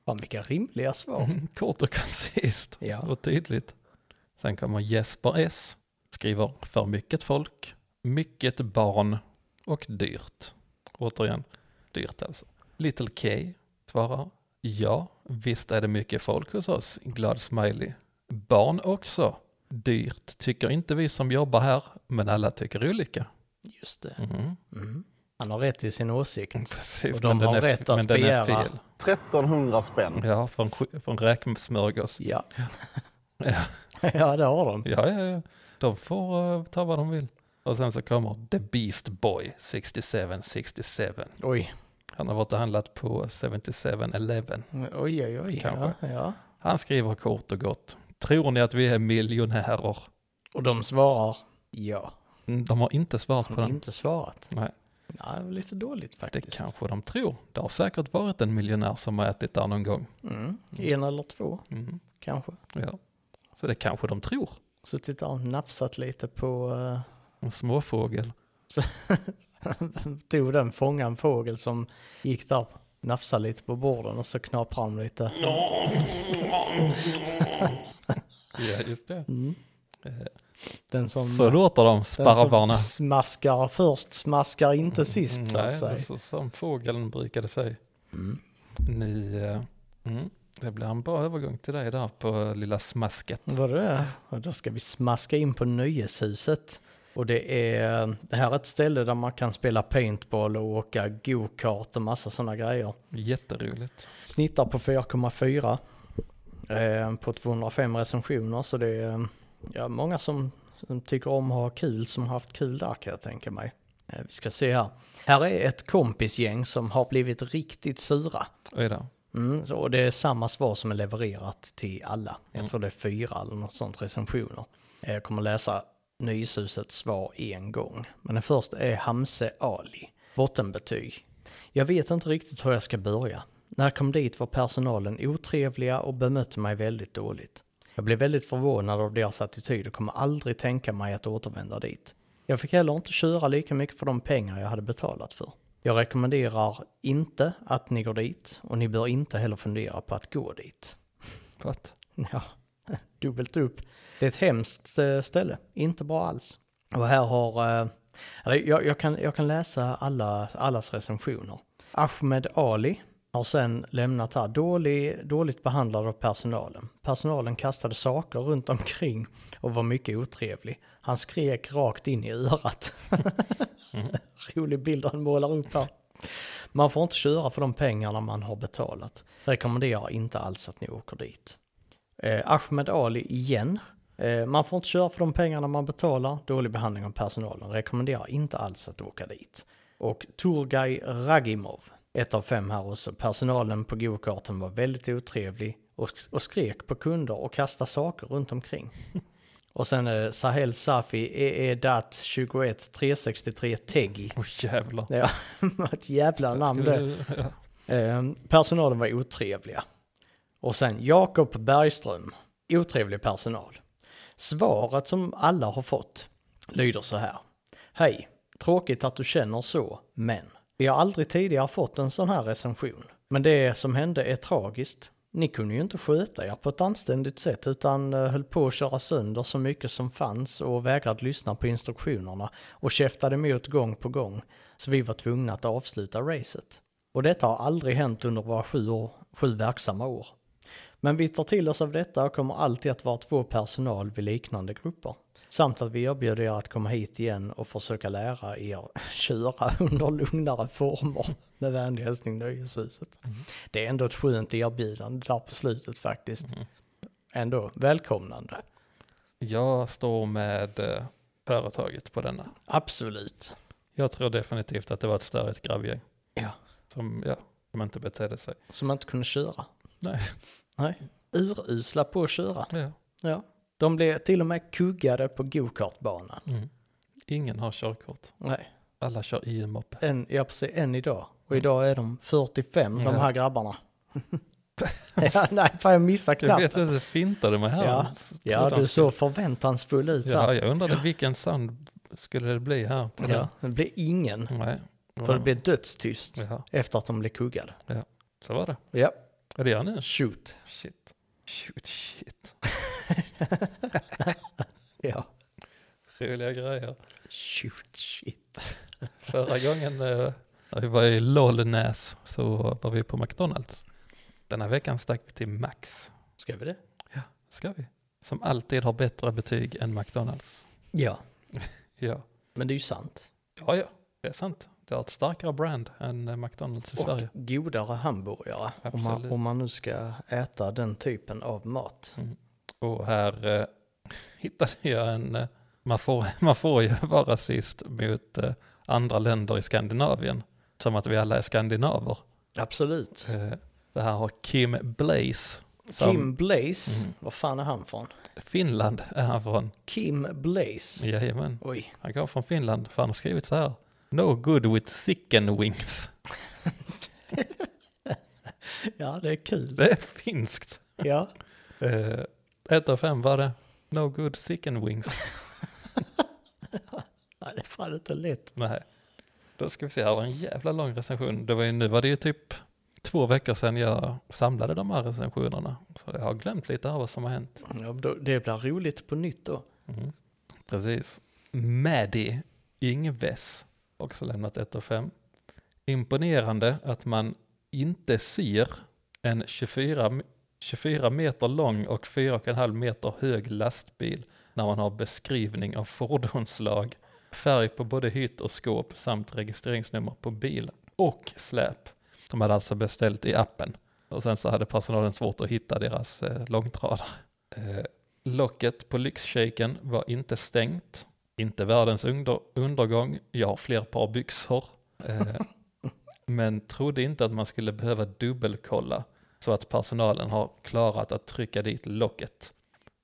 Speaker 2: Fan vilka rimliga svar.
Speaker 1: Mm, Kort och koncist.
Speaker 2: Ja.
Speaker 1: Och tydligt. Sen kommer Jesper S. Skriver för mycket folk, mycket barn och dyrt. Återigen, dyrt alltså. Little K svarar ja, visst är det mycket folk hos oss. Glad smiley. Barn också. Dyrt tycker inte vi som jobbar här, men alla tycker olika.
Speaker 2: Just det.
Speaker 1: Mhm.
Speaker 2: Mm. Han har rätt i sin åsikt.
Speaker 1: Mm. Precis,
Speaker 2: Och de
Speaker 1: men den
Speaker 2: har
Speaker 1: är,
Speaker 2: rätt att
Speaker 1: men den är
Speaker 2: begära.
Speaker 1: fel.
Speaker 4: 1300 spänn.
Speaker 1: Ja, från, sk- från räkmackorgås.
Speaker 2: Ja.
Speaker 1: Ja.
Speaker 2: ja, det har de.
Speaker 1: Ja, ja, ja. De får eh, ta vad de vill. Och sen så kommer The Beast Boy 6767.
Speaker 2: Oj,
Speaker 1: Han har varit och handlat på 7711.
Speaker 2: oj, oj. oj. Ja,
Speaker 1: Kanske.
Speaker 2: ja.
Speaker 1: Han skriver kort och gott. Tror ni att vi är miljonärer?
Speaker 2: Och de svarar ja.
Speaker 1: Mm, De har inte svarat
Speaker 2: De
Speaker 1: på
Speaker 2: har
Speaker 1: den.
Speaker 2: inte svarat.
Speaker 1: Nej,
Speaker 2: Nej, det var lite dåligt
Speaker 1: det
Speaker 2: faktiskt.
Speaker 1: kanske de tror. Det har säkert varit en miljonär som har ätit där någon gång.
Speaker 2: Mm. En eller två
Speaker 1: Mm,
Speaker 2: kanske.
Speaker 1: ja. Så det kanske de tror.
Speaker 2: Suttit där och nafsat lite på... eh,
Speaker 1: En småfågel.
Speaker 2: tog den, fångade en fågel som gick där, nafsade lite på borden och så knaprade han lite.
Speaker 1: Ja, just det.
Speaker 2: Mm. Den som...
Speaker 1: Så låter de
Speaker 2: den
Speaker 1: sparvarna.
Speaker 2: som smaskar först smaskar inte sist så
Speaker 1: Mm, Nej,
Speaker 2: att
Speaker 1: det är
Speaker 2: säga. Mm.
Speaker 1: så som fågeln brukade säga. Ni, eh, mm, det blir en bra övergång till dig där på lilla smasket.
Speaker 2: Vad det är. Och då ska vi smaska in på Nöjeshuset. Och det är, det här är ett ställe där man kan spela paintball och åka go-kart och massa sådana grejer.
Speaker 1: Jätteroligt.
Speaker 2: Snittar på 4,4 eh, på 205 recensioner så det är eh, ja, många som, som tycker om att ha kul som har haft kul där kan jag tänka mig. Eh, vi ska se här. Här är ett kompisgäng som har blivit riktigt sura.
Speaker 1: Oj då.
Speaker 2: Mm, så, och det är samma svar som är levererat till alla. Jag
Speaker 1: Mm.
Speaker 2: tror det är fyra eller något sånt recensioner. Eh, Jag kommer läsa Nyshusets svar en gång. Men den första är Hamse Ali. Bottenbetyg. Jag vet inte riktigt hur jag ska börja. När jag kom dit var personalen otrevliga och bemötte mig väldigt dåligt. Jag blev väldigt förvånad av deras attityd och kommer aldrig tänka mig att återvända dit. Jag fick heller inte köra lika mycket för de pengar jag hade betalat för. Jag rekommenderar inte att ni går dit och ni bör inte heller fundera på att gå dit.
Speaker 1: What?
Speaker 2: Ja, dubbelt upp. Det är ett hemskt eh, ställe, inte bra alls. Och här har, eh, eller jag, jag, kan, jag kan läsa alla, allas recensioner. Ahmed Ali har sen lämnat här, Dålig, dåligt behandlad av personalen. Personalen kastade saker runt omkring och var mycket otrevlig. Han skrek rakt in i örat. Rolig bild han målar upp här. Man får inte köra för de pengarna man har betalat. Rekommenderar inte alls att ni åker dit. Eh, Ahmed Ali igen. Eh, man får inte köra för de pengarna man betalar. Dålig behandling av personalen. Rekommenderar inte alls att åka dit. Och Turgay Ragimov. Ett av fem här också. Personalen på gokarten var väldigt otrevlig och, och skrek på kunder och kastade saker runt omkring. Och sen är det Sahel Safi E EEDAT 21 363 Teggi.
Speaker 1: Åh jävlar.
Speaker 2: Ja, ett jävla namn
Speaker 1: Skulle
Speaker 2: det.
Speaker 1: du- ja.
Speaker 2: Eh, personalen var otrevliga. Och sen Jakob Bergström, otrevlig personal. Svaret som alla har fått lyder så här. Hej, tråkigt att du känner så, men vi har aldrig tidigare fått en sån här recension. Men det som hände är tragiskt. Ni kunde ju inte sköta er på ett anständigt sätt utan eh, höll på att köra sönder så mycket som fanns och vägrade lyssna på instruktionerna och käftade emot gång på gång. Så vi var tvungna att avsluta racet. Och detta har aldrig hänt under våra sju, år, sju verksamma år. Men vi tar till oss av detta och kommer alltid att vara två personal vid liknande grupper. Samt att vi erbjuder er att komma hit igen och försöka lära er köra under lugnare former. Med vänlig hälsning Nöjeshuset. Det är ändå ett skönt erbjudande där på slutet faktiskt. Ändå välkomnande.
Speaker 1: Jag står med eh, företaget på denna.
Speaker 2: Absolut.
Speaker 1: Jag tror definitivt att det var ett störigt grabbgäng.
Speaker 2: Ja.
Speaker 1: Som, ja, som inte betedde sig.
Speaker 2: Som man inte kunde köra.
Speaker 1: Nej.
Speaker 2: Nej. Urusla på att köra.
Speaker 1: Ja.
Speaker 2: Ja. De blev till och med kuggade på gokartbanan.
Speaker 1: Mm. Ingen har körkort.
Speaker 2: Nej.
Speaker 1: Alla kör i en moppe.
Speaker 2: En, ja, precis, än idag. Och idag är de 45, de
Speaker 1: Mm. Ja.
Speaker 2: här grabbarna. ja, nej, fan jag missade
Speaker 1: Jag
Speaker 2: knappt.
Speaker 1: vet inte, det fintade mig här.
Speaker 2: Ja.
Speaker 1: Han s-
Speaker 2: Ja,
Speaker 1: trodde han
Speaker 2: du
Speaker 1: skulle-
Speaker 2: såg förväntansfull ut
Speaker 1: Ja,
Speaker 2: här.
Speaker 1: jag undrade vilken sound skulle det bli här. till
Speaker 2: Ja, det blev ingen,
Speaker 1: den? Nej.
Speaker 2: för det blev dödstyst
Speaker 1: Ja,
Speaker 2: efter att de blev kuggade.
Speaker 1: så var det.
Speaker 2: Ja,
Speaker 1: Är det jag nu?
Speaker 2: shoot.
Speaker 1: Shit. Shoot, shit.
Speaker 2: Ja,
Speaker 1: Roliga grejer.
Speaker 2: shoot, shit.
Speaker 1: Förra gången eh, när vi var i Lollnäs så var vi på McDonalds. Den här veckan stack vi till Max.
Speaker 2: Ska vi det?
Speaker 1: Ska vi? Som alltid har bättre betyg än McDonalds.
Speaker 2: Ja,
Speaker 1: Ja,
Speaker 2: men det är ju sant.
Speaker 1: ja, ja. det är sant. Det har ett starkare brand än eh, McDonalds i
Speaker 2: Och
Speaker 1: Sverige.
Speaker 2: godare hamburgare, om man,
Speaker 1: Absolut.
Speaker 2: om man nu ska äta den typen av mat.
Speaker 1: Och här eh, hittade jag en... Eh, man, får, man får ju vara rasist mot eh, andra länder i Skandinavien. Som att vi alla är skandinaver.
Speaker 2: Absolut.
Speaker 1: Eh, det här har Kim Blaze. Som
Speaker 2: Kim Blaze,
Speaker 1: Mm.
Speaker 2: var fan är han från?
Speaker 1: Finland är han från.
Speaker 2: Kim Blaze.
Speaker 1: Jajamän.
Speaker 2: Oj,
Speaker 1: Han kom från Finland för han har skrivit så här. No good with chicken wings.
Speaker 2: ja det är kul.
Speaker 1: Det är finskt.
Speaker 2: Ja,
Speaker 1: Eh, Ett av fem var det. No good chicken wings.
Speaker 2: Nej, det är fan inte lätt.
Speaker 1: Nej. Då ska vi se, här var en jävla lång recension. Det var ju, nu var det ju typ två veckor sedan jag samlade de här recensionerna. Så jag har glömt lite här vad som har hänt.
Speaker 2: Ja, då- det blir roligt på nytt då.
Speaker 1: Mm. Precis. Maddy Ingves, också lämnat 1 av 5. Imponerande att man inte ser en 24, m- 24 meter lång och 4,5 meter hög lastbil när man har beskrivning av fordonslag, färg på både hytt och skåp samt registreringsnummer på bil och släp. De hade alltså beställt i appen och sen så hade personalen svårt att hitta deras eh, långtradare. Eh, Locket på lyxshaken var inte stängt. Inte världens under- undergång. Jag har fler par byxor. Eh, men trodde inte att man skulle behöva dubbelkolla så att personalen har klarat att trycka dit locket.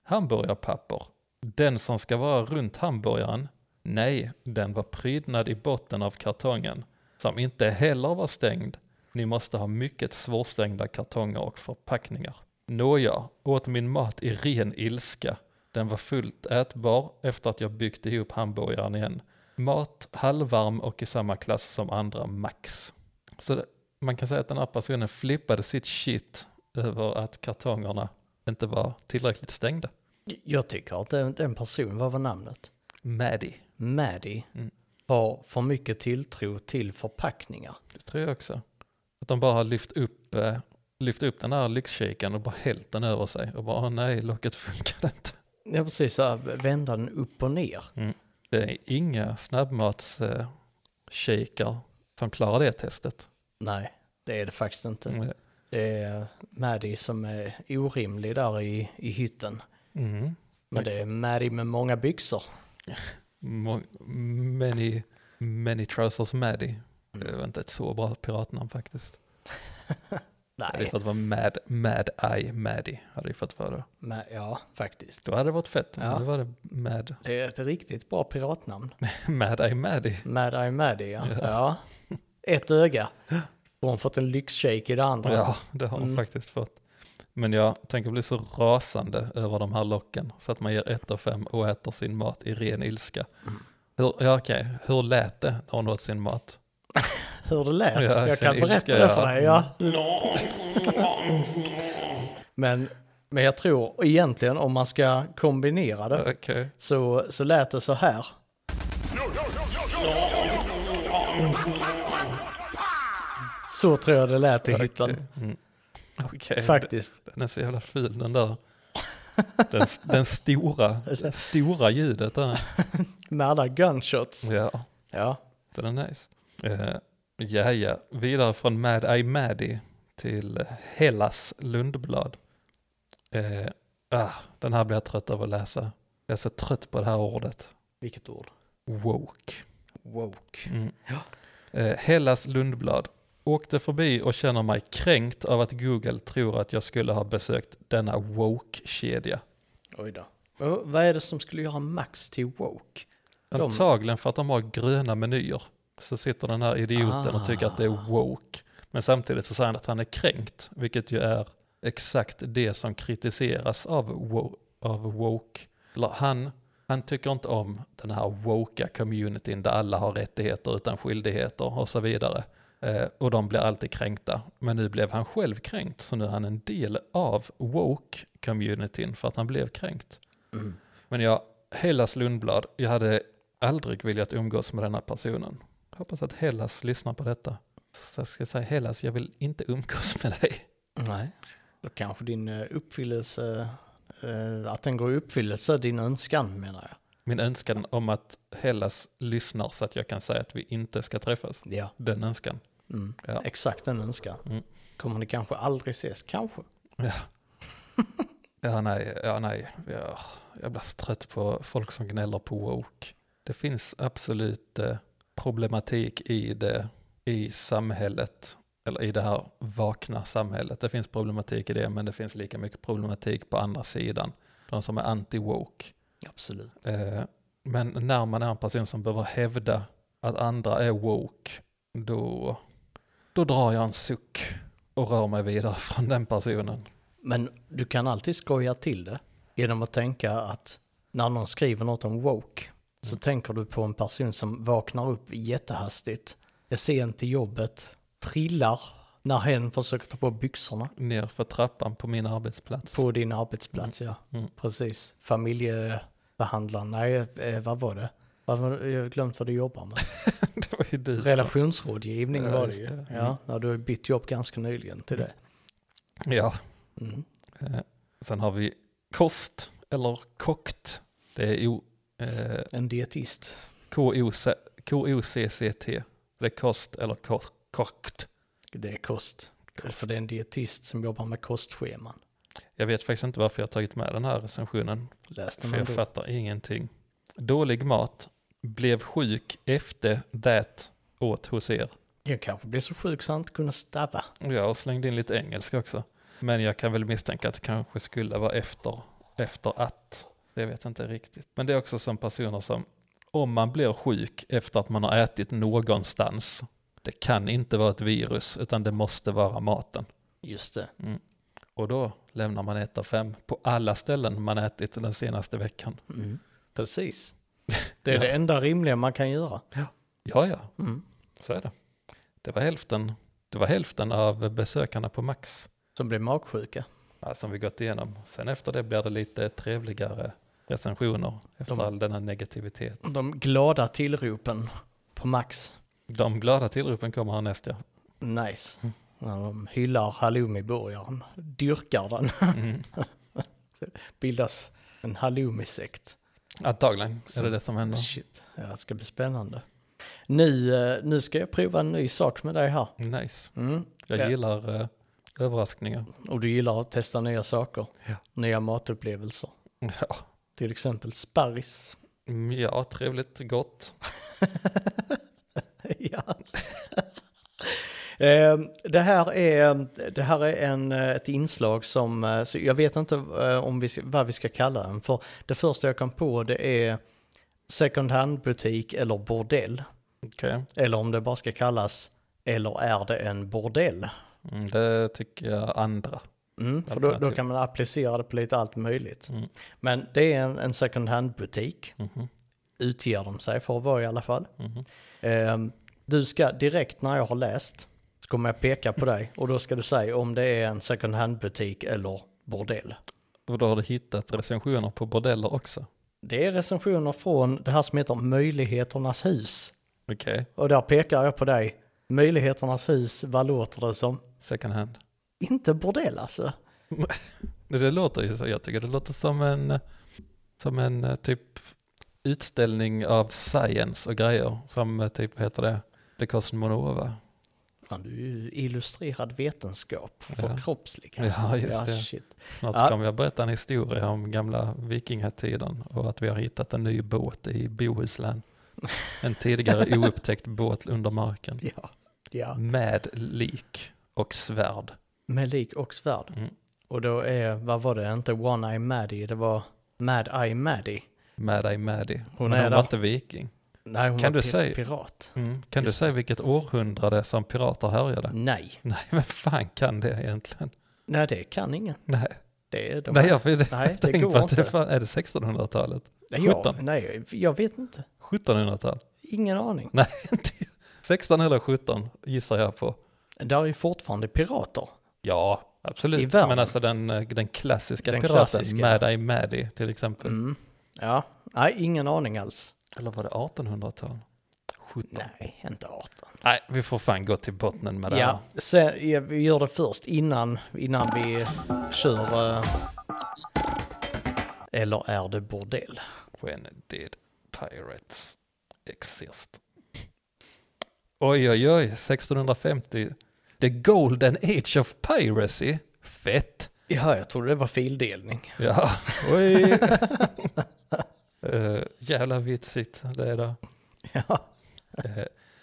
Speaker 1: Hamburgarpapper. Den som ska vara runt hamburgaren? Nej, den var prydnad i botten av kartongen som inte heller var stängd. Ni måste ha mycket svårstängda kartonger och förpackningar. Nåja, åt min mat i ren ilska. Den var fullt ätbar efter att jag byggt ihop hamburgaren igen. Mat, halvvarm och i samma klass som andra max. Så det, man kan säga att den här personen flippade sitt shit över att kartongerna inte var tillräckligt stängda.
Speaker 2: Jag tycker att den, den personen, vad var namnet?
Speaker 1: Maddie,
Speaker 2: Maddie,
Speaker 1: Mm.
Speaker 2: har för mycket tilltro till förpackningar.
Speaker 1: det tror jag också. Att de bara har lyft upp, eh, lyft upp den här lyxkikaren och bara hällt den över sig och bara "Åh nej, locket funkade inte.
Speaker 2: Ja, precis så här, vända den upp och ner.
Speaker 1: Det är inga snabbmatskikar som klarar det testet.
Speaker 2: Nej, det är det faktiskt inte.
Speaker 1: Mm.
Speaker 2: Det är Maddie som är orimlig där i, i hytten.
Speaker 1: Mm.
Speaker 2: Men det är Maddie med många byxor.
Speaker 1: Mo- Many, many trousers Maddy. Det var inte ett så bra piratnamn faktiskt. Det hade ju
Speaker 2: Nej,
Speaker 1: fått vara Mad, Mad Eye Maddy. Hade ju fått vara det.
Speaker 2: men, ja faktiskt.
Speaker 1: Då hade det varit fett.
Speaker 2: Ja.
Speaker 1: Men nu var det Mad,
Speaker 2: Det är ett riktigt bra piratnamn.
Speaker 1: Mad Eye Maddy.
Speaker 2: Mad Eye Maddie, ja. ja. Ett öga. Och hon fått en lyxshake i det andra.
Speaker 1: Ja, det har hon
Speaker 2: Mm.
Speaker 1: faktiskt fått. Men jag tänker bli så rasande över de här locken så att man ger 1 av 5 och äter sin mat i ren ilska. Hur, ja, okej, hur lät det när hon åt sin mat?
Speaker 2: Hur det lät.
Speaker 1: Ja,
Speaker 2: jag
Speaker 1: sen
Speaker 2: kan berätta
Speaker 1: ilska,
Speaker 2: det
Speaker 1: ja.
Speaker 2: för dig. Ja. men, men jag tror egentligen om man ska kombinera det
Speaker 1: Okej,
Speaker 2: så, så lät det så här. Så tror jag det lät i hytten.
Speaker 1: okej.
Speaker 2: Faktiskt.
Speaker 1: Den är så jävla ful den där. Den, den stora, det stora ljudet där.
Speaker 2: Med alla gunshots.
Speaker 1: Ja,
Speaker 2: Ja.
Speaker 1: den är nice. Eh, ja, ja. Vidare från Mad Eye Maddy till Hellas Lundblad. Eh, ah, den här blir jag trött av att läsa. Jag är så trött på det här ordet.
Speaker 2: Vilket ord?
Speaker 1: Woke.
Speaker 2: Woke.
Speaker 1: Mm. Eh, Hellas Lundblad. Åkte förbi och känner mig kränkt av att Google tror att jag skulle ha besökt denna woke-kedja.
Speaker 2: Oj då. Och Vad är det som skulle göra Max till woke? De-
Speaker 1: Antagligen för att de har gröna menyer. Så sitter den här idioten och tycker att det är woke. Men samtidigt så säger han att han är kränkt, vilket ju är exakt det som kritiseras av, wo- av woke. Eller Han, han tycker inte om den här woka communityn där alla har rättigheter utan skyldigheter och så vidare. Eh, och de blir alltid kränkta. Men nu blev han själv kränkt, så nu är han en del av woke-communityn för att han blev kränkt. Men jag, Hellas Lundblad, jag hade aldrig velat umgås med denna personen. Jag hoppas att Hellas lyssnar på detta. Så jag ska säga Hellas, jag vill inte umgås med dig.
Speaker 2: Nej. Då kanske din eh, uppfyllelse, eh, att den går i uppfyllelse, din önskan menar jag.
Speaker 1: Min önskan om att Hellas lyssnar så att jag kan säga att vi inte ska träffas.
Speaker 2: Ja.
Speaker 1: Den önskan.
Speaker 2: Mm.
Speaker 1: Ja.
Speaker 2: Exakt den önskan.
Speaker 1: Mm.
Speaker 2: Kommer ni kanske aldrig ses, kanske.
Speaker 1: Ja. ja, nej, ja, nej. Ja, jag blir så trött på folk som gnäller på woke. Det finns absolut eh, problematik i det i samhället, eller i det här vakna samhället. Det finns problematik i det, men det finns lika mycket problematik på andra sidan. De som är anti-woke.
Speaker 2: Absolut.
Speaker 1: Eh, men när man är en person som behöver hävda att andra är woke, då, då drar jag en suck och rör mig vidare från den personen.
Speaker 2: Men du kan alltid skoja till det genom att tänka att när någon skriver något om woke så tänker du på en person som vaknar upp jättehastigt, är sen till jobbet, trillar när hen försöker ta på byxorna
Speaker 1: ner för trappan på min arbetsplats.
Speaker 2: på din arbetsplats. Ja,
Speaker 1: Mm.
Speaker 2: precis. Familjebehandlaren, nej, eh, vad var det? Vad var det? Jag har glömt vad du jobbar med.
Speaker 1: det var ju du som-
Speaker 2: Relationsrådgivning
Speaker 1: Ja,
Speaker 2: var det
Speaker 1: just
Speaker 2: ju.
Speaker 1: det. Mm.
Speaker 2: Ja, ja, du har ju bytt jobb ganska nyligen till det.
Speaker 1: Ja.
Speaker 2: Mm.
Speaker 1: Eh, sen har vi kost, eller kokt. Det är o, eh,
Speaker 2: En dietist.
Speaker 1: K-O-C- K-O-C-C-T. Det är kost eller ko, kokt.
Speaker 2: Det är kost.
Speaker 1: Kost.
Speaker 2: För det är en dietist som jobbar med kostscheman.
Speaker 1: Jag vet faktiskt inte varför jag har tagit med den här recensionen.
Speaker 2: Läste
Speaker 1: För
Speaker 2: man
Speaker 1: jag
Speaker 2: då?
Speaker 1: fattar ingenting. Dålig mat. Blev sjuk efter det åt hos er.
Speaker 2: Jag kanske blev så sjuk så jag inte kunde stava.
Speaker 1: Och Jag slängde in lite engelska också. Men jag kan väl misstänka att det kanske skulle vara efter, efter att. Det vet jag inte riktigt. Men det är också som personer som, om man blir sjuk efter att man har ätit någonstans, det kan inte vara ett virus, utan det måste vara maten.
Speaker 2: Just det.
Speaker 1: Och då lämnar man ett av fem på alla ställen man ätit den senaste veckan.
Speaker 2: Precis. Det är
Speaker 1: Mm. Ja.
Speaker 2: det enda rimliga man kan göra.
Speaker 1: Ja, ja,
Speaker 2: Mm.
Speaker 1: så är det. Det var hälften, det var hälften av besökarna på Max.
Speaker 2: Som blev magsjuka.
Speaker 1: ja, som vi gått igenom. Sen efter det blir det lite trevligare recensioner efter
Speaker 2: De-
Speaker 1: all denna negativitet.
Speaker 2: De glada tillropen på Max.
Speaker 1: De glada tillropen kommer här näst ja.
Speaker 2: Nice. När de hyllar halloumiburgaren. Dyrkar den.
Speaker 1: Mm.
Speaker 2: Bildas en halloumisekt.
Speaker 1: Antagligen är det det som händer.
Speaker 2: Shit, ja, det ska bli spännande. Nu, eh, nu ska jag prova en ny sak med dig här.
Speaker 1: Nice.
Speaker 2: Mm.
Speaker 1: Jag
Speaker 2: Ja.
Speaker 1: gillar eh, överraskningar.
Speaker 2: Och du gillar att testa nya saker.
Speaker 1: Ja.
Speaker 2: Nya matupplevelser.
Speaker 1: Ja.
Speaker 2: Till exempel sparris.
Speaker 1: Mm, ja, trevligt, gott.
Speaker 2: ja. Eh, det, här är, det här är en, eh, ett inslag som, eh, så jag vet inte eh, om vi, ska- vad vi ska kalla den. För det första jag kom på det är second hand butik eller bordell.
Speaker 1: Okej,
Speaker 2: Eller om det bara ska kallas, eller är det en bordell?
Speaker 1: mm, det tycker jag andra.
Speaker 2: Mm, för då, då
Speaker 1: Alternativ.
Speaker 2: kan man applicera det på lite allt möjligt.
Speaker 1: Mm.
Speaker 2: Men det är en, en second hand-butik,
Speaker 1: Mhm,
Speaker 2: utger de sig för att vara i alla fall.
Speaker 1: mhm.
Speaker 2: Ehm, du ska direkt när jag har läst, så kommer jag peka på dig och då ska du säga om det är en second hand-butik eller bordell.
Speaker 1: Och då har du hittat recensioner på bordeller också.
Speaker 2: Det är recensioner från det här som heter Möjligheternas hus.
Speaker 1: Okej,
Speaker 2: Och där pekar jag på dig. Möjligheternas hus, vad låter det som?
Speaker 1: second hand.
Speaker 2: Inte bordell alltså.
Speaker 1: Det låter ju så, jag tycker det låter som en, som en eh, typ utställning av science och grejer som eh, typ heter det, det Cosmonova.
Speaker 2: Fan, du är ju illustrerad vetenskap för
Speaker 1: Ja.
Speaker 2: kroppsliga.
Speaker 1: Ja, just det.
Speaker 2: Shit.
Speaker 1: Snart
Speaker 2: Ja.
Speaker 1: kommer jag berätta en historia om gamla vikingatiden och att vi har hittat en ny båt i Bohuslän. En tidigare oupptäckt båt under marken
Speaker 2: Ja. ja.
Speaker 1: med lik och svärd.
Speaker 2: Med lik och svärd.
Speaker 1: Mm.
Speaker 2: Och då är, vad var det, inte One Eye Maddie, det var Mad Eye Maddie.
Speaker 1: Med dig, med dig.
Speaker 2: Hon
Speaker 1: Hon Men
Speaker 2: är
Speaker 1: hon
Speaker 2: där.
Speaker 1: var inte viking.
Speaker 2: Nej, hon
Speaker 1: Kan
Speaker 2: var
Speaker 1: du
Speaker 2: pi-
Speaker 1: säga-
Speaker 2: pirat.
Speaker 1: Kan du
Speaker 2: Just Mm.
Speaker 1: säga vilket århundrade som pirater härjade?
Speaker 2: Nej,
Speaker 1: Nej, vem fan kan det egentligen?
Speaker 2: nej det kan ingen.
Speaker 1: Nej,
Speaker 2: Det är de
Speaker 1: nej jag, jag
Speaker 2: Nej, det
Speaker 1: tänkte
Speaker 2: går
Speaker 1: på att det
Speaker 2: inte.
Speaker 1: fan, är det 1600-talet?
Speaker 2: Nej, jag,
Speaker 1: 17.
Speaker 2: nej, jag vet inte.
Speaker 1: 1700-tal?
Speaker 2: Ingen aning.
Speaker 1: Nej, inte 16 eller 17 gissar jag på.
Speaker 2: Där är fortfarande pirater.
Speaker 1: Ja,
Speaker 2: I
Speaker 1: absolut.
Speaker 2: världen.
Speaker 1: Men alltså den, eh, den klassiska
Speaker 2: Den
Speaker 1: piraten,
Speaker 2: klassiska.
Speaker 1: Mad-Eye Maddie till exempel.
Speaker 2: Mm. Ja, nej, ingen aning alls.
Speaker 1: Eller var det 1800-tal? 17? Nej.
Speaker 2: Nej, inte 18.
Speaker 1: vi får fan gå till botten med det
Speaker 2: Ja, sen, ja, vi gör det först innan, innan vi kör... eh, eller är det bordell?
Speaker 1: här. When did pirates exist? Oj, oj, oj, 1650. The golden age of piracy. Fett.
Speaker 2: Ja, jag trodde det var fildelning.
Speaker 1: Ja, oj. Eh, jävla vitsigt det är det.
Speaker 2: Ja.
Speaker 1: Eh,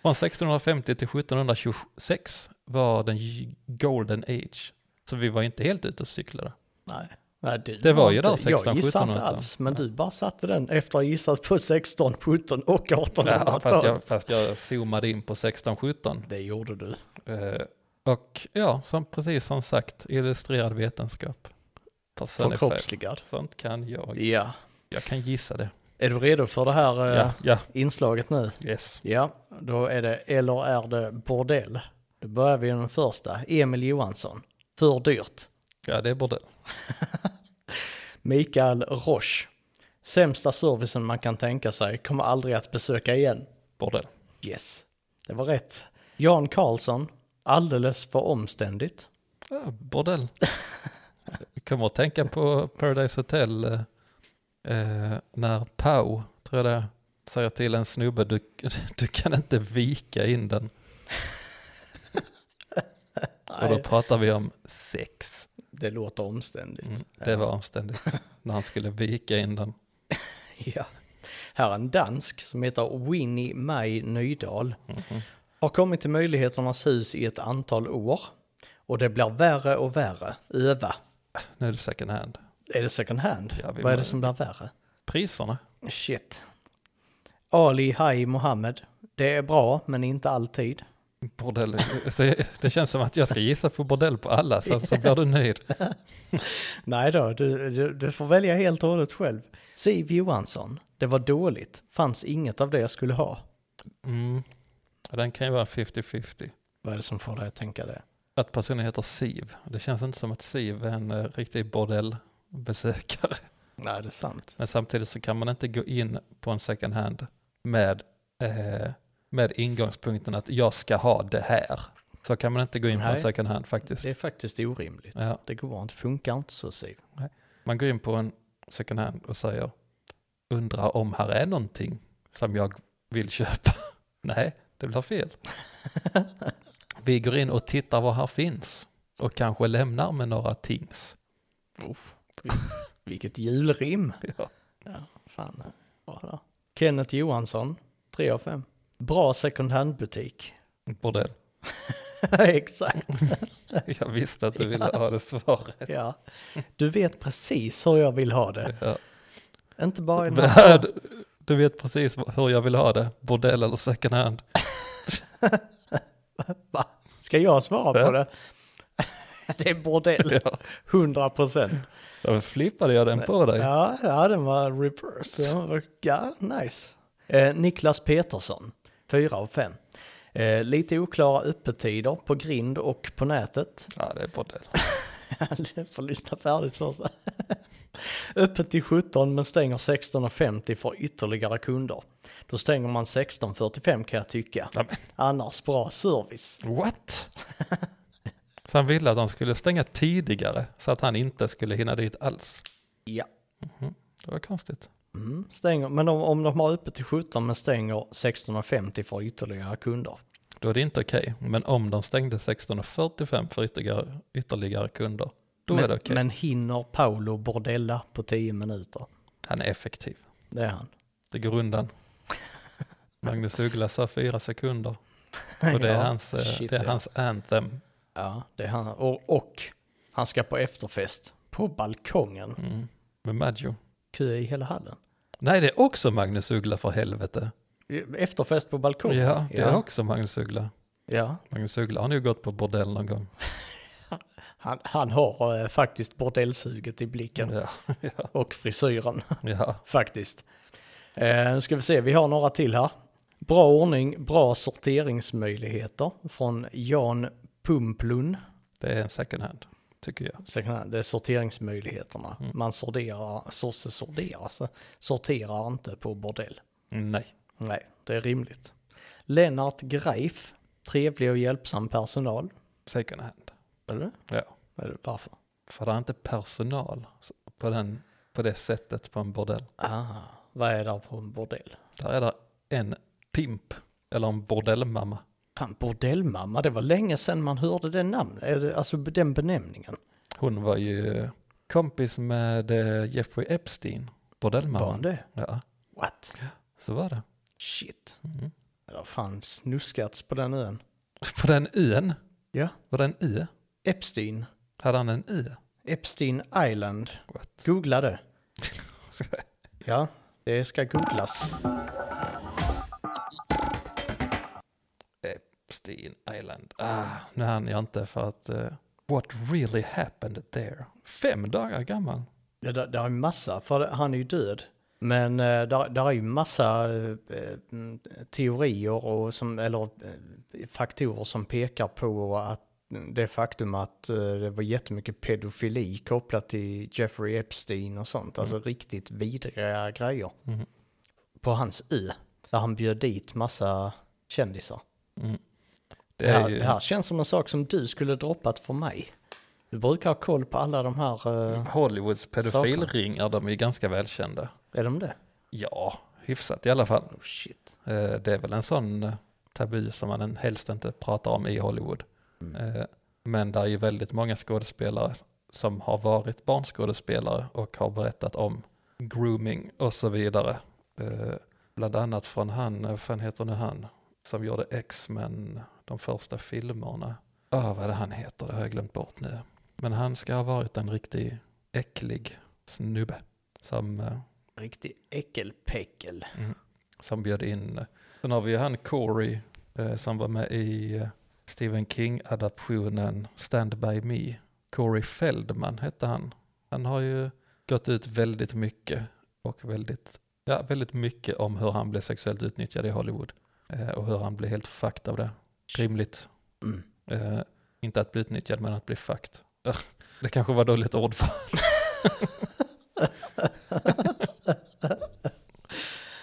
Speaker 1: Från 1650 till 1726 var den j- golden age. Så vi var inte helt ute och cyklade.
Speaker 2: Nej. Nej, du
Speaker 1: Det var ju
Speaker 2: inte-
Speaker 1: där 16,
Speaker 2: Jag gissade
Speaker 1: 17,
Speaker 2: inte
Speaker 1: 18.
Speaker 2: alls, men du bara satte den efter att ha gissat på 16, 17 och
Speaker 1: Ja,
Speaker 2: 1800-talet.
Speaker 1: fast, jag, fast jag zoomade in på 1617.
Speaker 2: Det gjorde du.
Speaker 1: Eh, och ja, som, precis som sagt, illustrerad vetenskap. Personifierad.
Speaker 2: Förkroppsligad.
Speaker 1: Sånt kan jag.
Speaker 2: Ja.
Speaker 1: Jag kan gissa det.
Speaker 2: Är du redo för det här eh,
Speaker 1: Ja, ja,
Speaker 2: inslaget nu?
Speaker 1: yes.
Speaker 2: Ja, då är det eller är det bordell? Då börjar vi med den första, Emil Johansson. För dyrt.
Speaker 1: Ja, det är bordell.
Speaker 2: Mikael Roche. Sämsta servicen man kan tänka sig, kommer aldrig att besöka igen.
Speaker 1: Bordell.
Speaker 2: Yes, det var rätt. Jan Karlsson. Alldeles för omständigt.
Speaker 1: Ja, bordell. Jag kommer att tänka på Paradise Hotel eh, eh, när Pau, tror jag det är, säger till en snubbe, du, du kan inte vika in den. Och då
Speaker 2: Nej,
Speaker 1: pratar vi om sex.
Speaker 2: det låter omständigt.
Speaker 1: Mm, det var omständigt när han skulle vika in den.
Speaker 2: Ja. Här är en dansk som heter Winnie Maj Nydahl.
Speaker 1: Mhm.
Speaker 2: Har kommit till Möjligheternas hus i ett antal år. Och det blir värre och värre. Öva.
Speaker 1: Nu är det second hand.
Speaker 2: Är det second hand?
Speaker 1: Ja, vi
Speaker 2: Vad är det
Speaker 1: må-
Speaker 2: som blir värre?
Speaker 1: Priserna?
Speaker 2: Shit. Ali Hai Mohammed. Det är bra, men inte alltid.
Speaker 1: Bordell. Så jag- det känns som att jag ska gissa på bordell på alla så, så blir du nöjd.
Speaker 2: Nej då, du, du, du får välja helt och hållet själv. Siv Johansson. Det var dåligt. Fanns inget av det jag skulle ha.
Speaker 1: Mm. Ja, Den kan ju vara 50-50.
Speaker 2: Vad är det som får dig att tänka det?
Speaker 1: Att personen heter Siv. Det känns inte som att Siv är en eh, riktig bordellbesökare.
Speaker 2: Nej, det är sant.
Speaker 1: Men samtidigt så kan man inte gå in på en second hand med, eh, med ingångspunkten att jag ska ha det här. Så kan man inte gå in på en
Speaker 2: Nej.
Speaker 1: second hand faktiskt.
Speaker 2: Det är faktiskt orimligt.
Speaker 1: Ja.
Speaker 2: Det går inte, funkar inte så Siv.
Speaker 1: Man går in på en second hand och säger undrar om här är någonting som jag vill köpa. Nej, det blir fel. Vi går in och tittar vad här finns och kanske lämnar med några tings.
Speaker 2: Vilket julrim.
Speaker 1: Ja.
Speaker 2: Ja, fan. eh, Bra där. Kenneth Johansson, 3 av 5. Bra second hand-butik.
Speaker 1: Bordell.
Speaker 2: Exakt,
Speaker 1: Jag visste att du ville ha det svaret.
Speaker 2: ja. Du vet precis hur jag vill ha det.
Speaker 1: Ja.
Speaker 2: Inte bara i den här...
Speaker 1: Vad- Du vet precis hur jag vill ha det, bordell eller second hand.
Speaker 2: Va? Ska jag svara
Speaker 1: Ja.
Speaker 2: på det? Det är bordell,
Speaker 1: Ja.
Speaker 2: 100 procent.
Speaker 1: Då flippade jag den på dig.
Speaker 2: Ja, ja, den var reverse. Den var, ja, nice. Eh, Niklas Petersson, 4 av 5. Eh, lite oklara öppettider på grind och på nätet.
Speaker 1: Ja, det är bordell.
Speaker 2: Jag får lyssna färdigt först. Öppet till 17 men stänger 16.50 för ytterligare kunder. Då stänger man 16.45 kan jag tycka.
Speaker 1: Ja, men,
Speaker 2: Annars bra service.
Speaker 1: what? Så han ville att de skulle stänga tidigare så att han inte skulle hinna dit alls.
Speaker 2: Ja.
Speaker 1: Mhm. Det var konstigt.
Speaker 2: Mm, stänger, men om, om de har öppet till 17 men stänger 16.50 för ytterligare kunder.
Speaker 1: Då är det inte okej. Men om de stängde 16.45 för ytterligare, ytterligare kunder, då
Speaker 2: men,
Speaker 1: är det okej.
Speaker 2: men hinner Paolo Bordella på 10 minuter?
Speaker 1: Han är effektiv.
Speaker 2: Det är han.
Speaker 1: Det går undan. Magnus Uggla sa fyra sekunder. Och det är,
Speaker 2: Ja,
Speaker 1: hans, eh,
Speaker 2: shit,
Speaker 1: det är
Speaker 2: ja.
Speaker 1: hans anthem.
Speaker 2: Ja, det är han. Och, och han ska på efterfest på balkongen.
Speaker 1: Mm. Med Maggio.
Speaker 2: Kö i hela hallen.
Speaker 1: Nej, det är också Magnus Uggla för helvete.
Speaker 2: Efterfest på balkongen?
Speaker 1: Ja, det är
Speaker 2: ja.
Speaker 1: också Magnus Uggla.
Speaker 2: ja.
Speaker 1: Magnus Uggla har nu gått på bordell någon gång.
Speaker 2: Han, han har eh, faktiskt bordellsuget i blicken
Speaker 1: Ja, ja,
Speaker 2: och frisyren
Speaker 1: ja.
Speaker 2: faktiskt. Eh, nu ska vi se, vi har några till här. Bra ordning, bra sorteringsmöjligheter från Jan Pumplun.
Speaker 1: Det är en second hand, tycker jag.
Speaker 2: Second hand, Det är sorteringsmöjligheterna.
Speaker 1: Mm.
Speaker 2: Man sorterar, sosse sorterar, så sorterar inte på bordell.
Speaker 1: Nej.
Speaker 2: Nej, det är rimligt. Lennart Greif, trevlig och hjälpsam personal.
Speaker 1: Second hand.
Speaker 2: Eller?
Speaker 1: Ja.
Speaker 2: Eller varför?
Speaker 1: För det är inte personal på, den, på det sättet på en bordell.
Speaker 2: Ah, vad är det på en bordell?
Speaker 1: Där är det en pimp, eller en bordellmamma.
Speaker 2: Fan, bordellmamma, det var länge sedan man hörde det namnet, är det- alltså den benämningen.
Speaker 1: Hon var ju kompis med eh, Jeffrey Epstein,
Speaker 2: Var han
Speaker 1: bordellmamman.
Speaker 2: det?
Speaker 1: Ja,
Speaker 2: What?
Speaker 1: så var det.
Speaker 2: Shit.
Speaker 1: Mm.
Speaker 2: Det har fan snuskats på den ön.
Speaker 1: På den ön,
Speaker 2: Ja.
Speaker 1: var det en ö?
Speaker 2: Epstein.
Speaker 1: Hade han en ö?
Speaker 2: Epstein Island.
Speaker 1: What?
Speaker 2: Googla det. Ja, det ska googlas.
Speaker 1: Epstein Island. Ah, nu hann jag inte för att... eh, what really happened there? Fem dagar gammal.
Speaker 2: Ja, där, där är massa, för han är ju död. Men eh, där, där är ju massa eh, mm, teorier och som, eller eh, faktorer som pekar på att det faktum att eh, det var jättemycket pedofili kopplat till Jeffrey Epstein och sånt. Alltså riktigt vidriga grejer.
Speaker 1: Mm.
Speaker 2: På hans ö, där han bjöd dit massa kändisar.
Speaker 1: Mm. Det
Speaker 2: Det här,
Speaker 1: är ju...
Speaker 2: det här känns som en sak som du skulle droppat för mig. Du brukar ha koll på alla de här, eh,
Speaker 1: Hollywoods pedofilringar, de är ju ganska välkända.
Speaker 2: är de det?
Speaker 1: Ja, hyfsat i alla fall.
Speaker 2: Oh shit.
Speaker 1: Eh, Det är väl en sån eh, tabu som man en- helst inte pratar om i Hollywood. Eh, Men det är ju väldigt många skådespelare som har varit barnskådespelare och har berättat om grooming och så vidare. Eh, Bland annat från han, eh, vad fan heter nu han, som gjorde X-Men, de första filmerna. Ah, vad är det han heter, det har jag glömt bort nu. Men han ska ha varit en riktigt äcklig snubbe som eh,
Speaker 2: Riktig äckelpäckel.
Speaker 1: som bjöd in. Sen har vi ju han Corey eh, som var med i eh, Stephen King-adaptionen Stand By Me. Corey Feldman hette han. Han har ju gått ut väldigt mycket och väldigt, ja, väldigt mycket om hur han blev sexuellt utnyttjad i Hollywood eh, och hur han blev helt fucked av det. Rimligt.
Speaker 2: Mm.
Speaker 1: Eh, inte att bli utnyttjad men att bli fucked. Ugh, Det kanske var dåligt ord för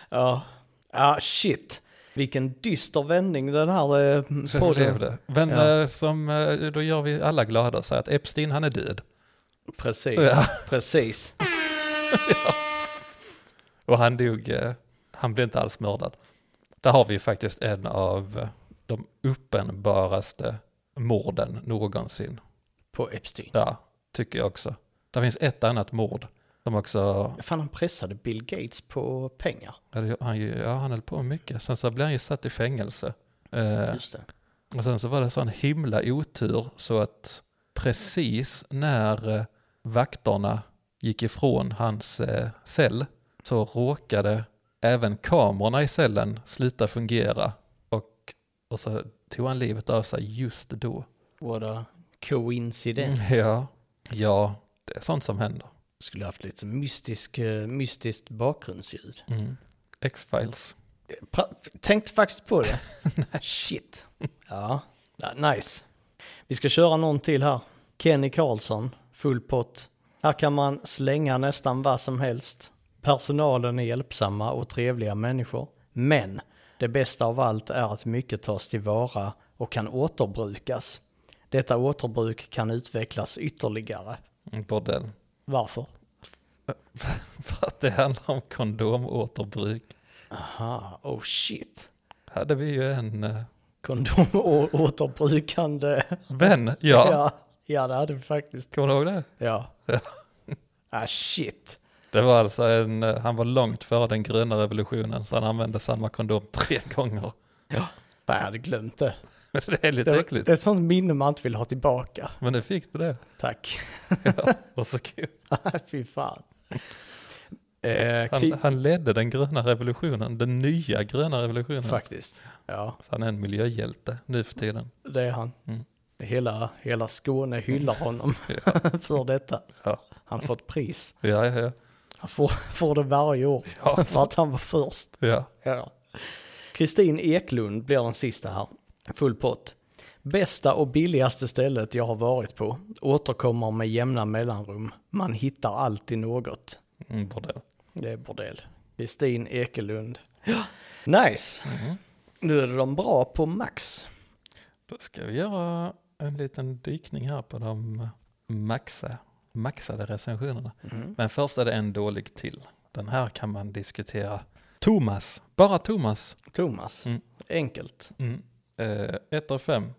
Speaker 2: Ja, ja shit. Vilken dyster vändning den här eh,
Speaker 1: så blev
Speaker 2: podden.
Speaker 1: det. Men
Speaker 2: Ja.
Speaker 1: eh, som, eh, då gör vi alla glada och säger att Epstein han är död.
Speaker 2: Precis,
Speaker 1: Ja.
Speaker 2: precis.
Speaker 1: Och han dog, eh, han blev inte alls mördad. Där har vi ju faktiskt en av eh, de uppenbaraste morden någonsin.
Speaker 2: På Epstein.
Speaker 1: Ja, tycker jag också. Det finns ett annat mord som också,
Speaker 2: Fan, han pressade Bill Gates på pengar.
Speaker 1: ja, det- han, ju- ja, han höll på mycket. Sen så blev han ju satt i fängelse. Eh,
Speaker 2: Just det.
Speaker 1: och sen så var det sån himla otur så att precis när eh, vakterna gick ifrån hans eh, cell så råkade även kamerorna i cellen sluta fungera och, och så tog han livet av sig just då.
Speaker 2: What a coincidence.
Speaker 1: Ja, ja, det är sånt som händer.
Speaker 2: Skulle haft lite mystisk, eh, mystiskt bakgrundsljud.
Speaker 1: Mm. X-Files.
Speaker 2: Pra- tänkte faktiskt på det. Shit. Ja. ja, nice. Vi ska köra någon till här. Kenny Karlsson, full pott. Här kan man slänga nästan vad som helst. Personalen är hjälpsamma och trevliga människor. Men det bästa av allt är att mycket tas tillvara och kan återbrukas. Detta återbruk kan utvecklas ytterligare.
Speaker 1: En Bordell.
Speaker 2: Varför?
Speaker 1: För att det handlar om kondomåterbruk.
Speaker 2: Aha, oh shit.
Speaker 1: Hade vi ju en eh,
Speaker 2: Kondomåterbrukande.
Speaker 1: vän, ja.
Speaker 2: ja. Ja, det hade vi faktiskt.
Speaker 1: Kommer du ihåg det?
Speaker 2: Ja. ah shit.
Speaker 1: Det var alltså en, eh, han var långt före den gröna revolutionen så han använde samma kondom tre gånger.
Speaker 2: Fan, jag hade glömt det.
Speaker 1: Det är lite
Speaker 2: Det,
Speaker 1: äckligt.
Speaker 2: det är ett sånt minne man inte vill ha tillbaka.
Speaker 1: Men nu fick du det.
Speaker 2: Tack. Ah,
Speaker 1: Ja, varsågod.
Speaker 2: Fy fan. Eh,
Speaker 1: Han,
Speaker 2: krig,
Speaker 1: han ledde den gröna revolutionen, den nya gröna revolutionen.
Speaker 2: faktiskt. Ja,
Speaker 1: Så han är en miljöhjälte nu för tiden.
Speaker 2: det är han.
Speaker 1: Mm.
Speaker 2: Hela, hela Skåne hyllar honom för detta.
Speaker 1: Ja.
Speaker 2: Han får ett pris.
Speaker 1: Ja, ja, ja.
Speaker 2: Han får, får det varje år
Speaker 1: Ja.
Speaker 2: för att han var först.
Speaker 1: ja.
Speaker 2: Ja. Kristin Eklund blir den sista här. Full pott. Bästa och billigaste stället jag har varit på. Återkommer med jämna mellanrum. Man hittar alltid något.
Speaker 1: Mm, bordell.
Speaker 2: Det är bordell. Kristin Ekelund. Nice.
Speaker 1: Mm.
Speaker 2: Nu är de bra på max.
Speaker 1: Då ska vi göra en liten dykning här på de eh, maxa, maxade recensionerna. Men först är det en dålig till. Den här kan man diskutera. Thomas, bara Thomas.
Speaker 2: Thomas.
Speaker 1: Mm.
Speaker 2: Enkelt.
Speaker 1: Mm. Eh, ett av fem.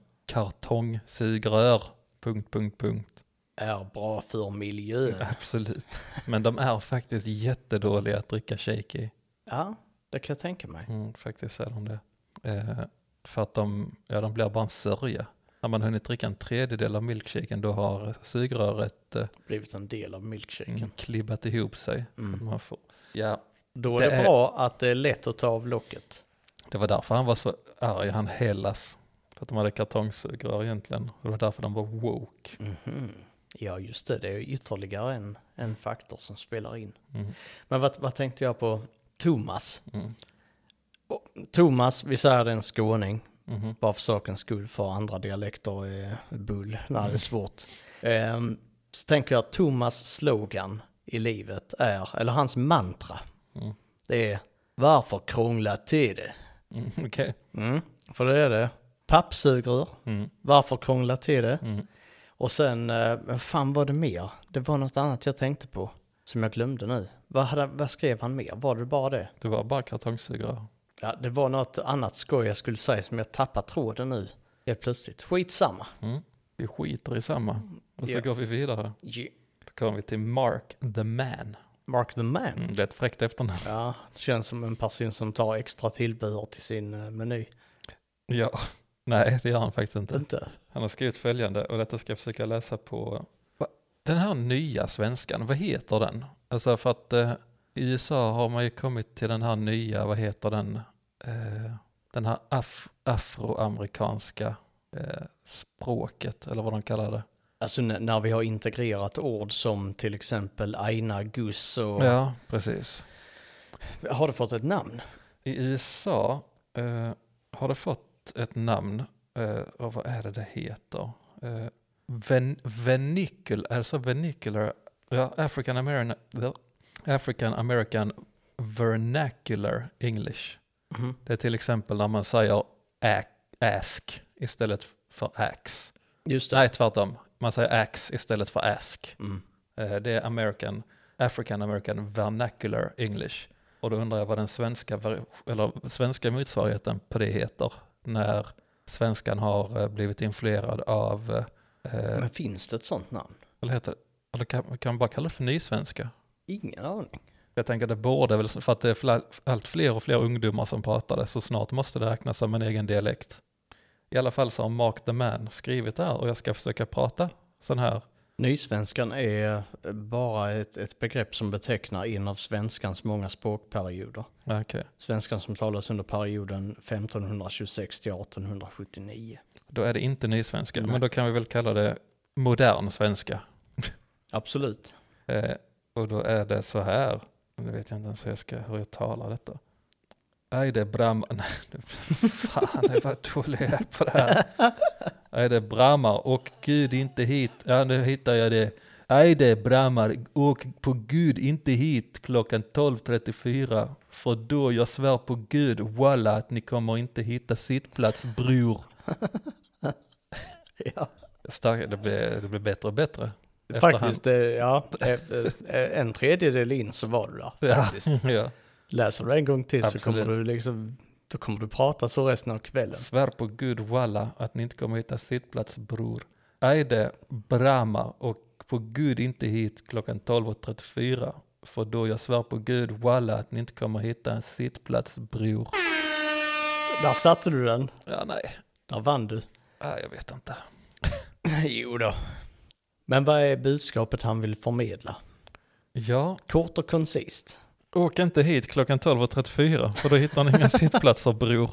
Speaker 1: Kartongsugrör. Punkt, punkt, punkt.
Speaker 2: Är bra för miljön.
Speaker 1: Absolut. Men de är faktiskt jättedåliga att dricka shake i.
Speaker 2: Ja, det kan jag tänka mig.
Speaker 1: Mm, faktiskt är de det. Eh, för att de, ja, de blir bara en sörja. När man hunnit dricka en tredjedel av milkshaken då har sugröret eh,
Speaker 2: Blivit en del av milkshaken.
Speaker 1: mm, klibbat ihop sig.
Speaker 2: Mm.
Speaker 1: Så att man får, ja,
Speaker 2: Då är
Speaker 1: Det
Speaker 2: det,
Speaker 1: är-
Speaker 2: bra att det är lätt att ta av locket.
Speaker 1: det var därför han var så arg, han Hellas. För att de hade kartongsugrör egentligen. Och det var därför de var woke.
Speaker 2: Mm. Mhm. Ja, just det. Det är ytterligare en, en faktor som spelar in.
Speaker 1: Mm.
Speaker 2: Men vad, vad tänkte jag på? Thomas.
Speaker 1: Mm.
Speaker 2: Och Thomas, vi säger det är en skåning.
Speaker 1: Mhm.
Speaker 2: Bara för sakens skull, för andra dialekter är bull. Nej, det är svårt. Ehm, så tänker jag att Thomas slogan i livet är, eller hans mantra,
Speaker 1: Mm.
Speaker 2: det är varför krångla till det?
Speaker 1: Mm, Okej.
Speaker 2: Mm, för det är det. Pappsugrör,
Speaker 1: Mm,
Speaker 2: varför krångla till det?
Speaker 1: mm.
Speaker 2: Och sen, eh, vad fan var det mer? Det var något annat jag tänkte på som jag glömde nu. Vad, hade, vad skrev han mer? Var det bara det?
Speaker 1: Det var bara kartongsugrör.
Speaker 2: Ja, det var något annat skoj jag skulle säga som jag tappar tråden nu. Helt plötsligt. Skitsamma.
Speaker 1: Mm. Vi skiter i samma. Och så
Speaker 2: Ja.
Speaker 1: går vi vidare.
Speaker 2: Yeah.
Speaker 1: Då kommer vi till Mark the Man.
Speaker 2: Mark the man.
Speaker 1: Mm, det är ett fräckt efternamn.
Speaker 2: Ja, det känns som en person som tar extra tillbehör till sin eh, meny.
Speaker 1: Ja, nej det gör han faktiskt inte.
Speaker 2: Inte?
Speaker 1: Han har skrivit följande och detta ska jag försöka läsa på. Va? Den här nya svenskan, vad heter den? Alltså för att eh, i USA har man ju kommit till den här nya, vad heter den? Eh, den här af- afroamerikanska eh, språket eller vad de kallar det.
Speaker 2: Alltså n- när vi har integrerat ord som till exempel aina, guss och...
Speaker 1: Ja, precis.
Speaker 2: Har det fått ett namn?
Speaker 1: I USA eh, har det fått ett namn, eh, och vad är det det heter? Eh, ven, venicular, alltså vernacular, ja, African American, African American vernacular English.
Speaker 2: Mhm.
Speaker 1: Det är till exempel när man säger ac- ask istället för ax.
Speaker 2: Just det.
Speaker 1: Nej, tvärtom. Man säger ax istället för ask.
Speaker 2: Mm.
Speaker 1: Eh, Det är American, African American Vernacular English. Och då undrar jag vad den svenska, ver- eller svenska motsvarigheten på det heter när svenskan har eh, blivit influerad av, eh, eh,
Speaker 2: Men finns det ett sånt namn?
Speaker 1: vad heter det? Eller kan, kan man bara kalla det för nysvenska?
Speaker 2: Ingen aning.
Speaker 1: Jag tänker det borde väl, för att det är fla- allt fler och fler ungdomar som pratar det, så snart måste det räknas som en egen dialekt. I alla fall så har Mark the Man skrivit det här och jag ska försöka prata sån här.
Speaker 2: Nysvenskan är bara ett, ett begrepp som betecknar en av svenskans många språkperioder.
Speaker 1: Okej,
Speaker 2: Svenskan som talas under perioden 1526 till 1879.
Speaker 1: då är det inte nysvenska,
Speaker 2: Nej.
Speaker 1: men då kan vi väl kalla det modern svenska.
Speaker 2: Absolut.
Speaker 1: Eh, och då är det så här. Nu vet jag inte ens hur jag, ska, hur jag talar detta. Aide Bram... Nej, nu- Fan, det var dålig jag är på det här. Aide Brammar och Gud inte hit. Ja, nu hittar jag det. Aide Brammar och på Gud inte hit klockan 12.34. För då, jag svär på Gud, walla, att ni kommer inte hitta sittplats, bror.
Speaker 2: Ja.
Speaker 1: starkare, det blir, det blir bättre och bättre.
Speaker 2: Faktiskt, eh, ja, eh, eh, en tredjedel in så var du där.
Speaker 1: Ja,
Speaker 2: Faktiskt.
Speaker 1: ja.
Speaker 2: Läser du en gång till så kommer
Speaker 1: Absolut.
Speaker 2: du liksom, då kommer du prata så resten av kvällen.
Speaker 1: Svär på gud walla att ni inte kommer hitta sittplats bror. Ajde, Brahma och på gud inte hit klockan 12.34. För då jag svär på gud walla att ni inte kommer hitta en sittplats bror.
Speaker 2: Där satte du den,
Speaker 1: Ja, nej,
Speaker 2: där vann du.
Speaker 1: ja, jag vet inte.
Speaker 2: jo då. Men vad är budskapet han vill förmedla?
Speaker 1: Ja,
Speaker 2: Kort och koncist.
Speaker 1: åk inte hit klockan 12.34 för då hittar ni inga sittplatser bror.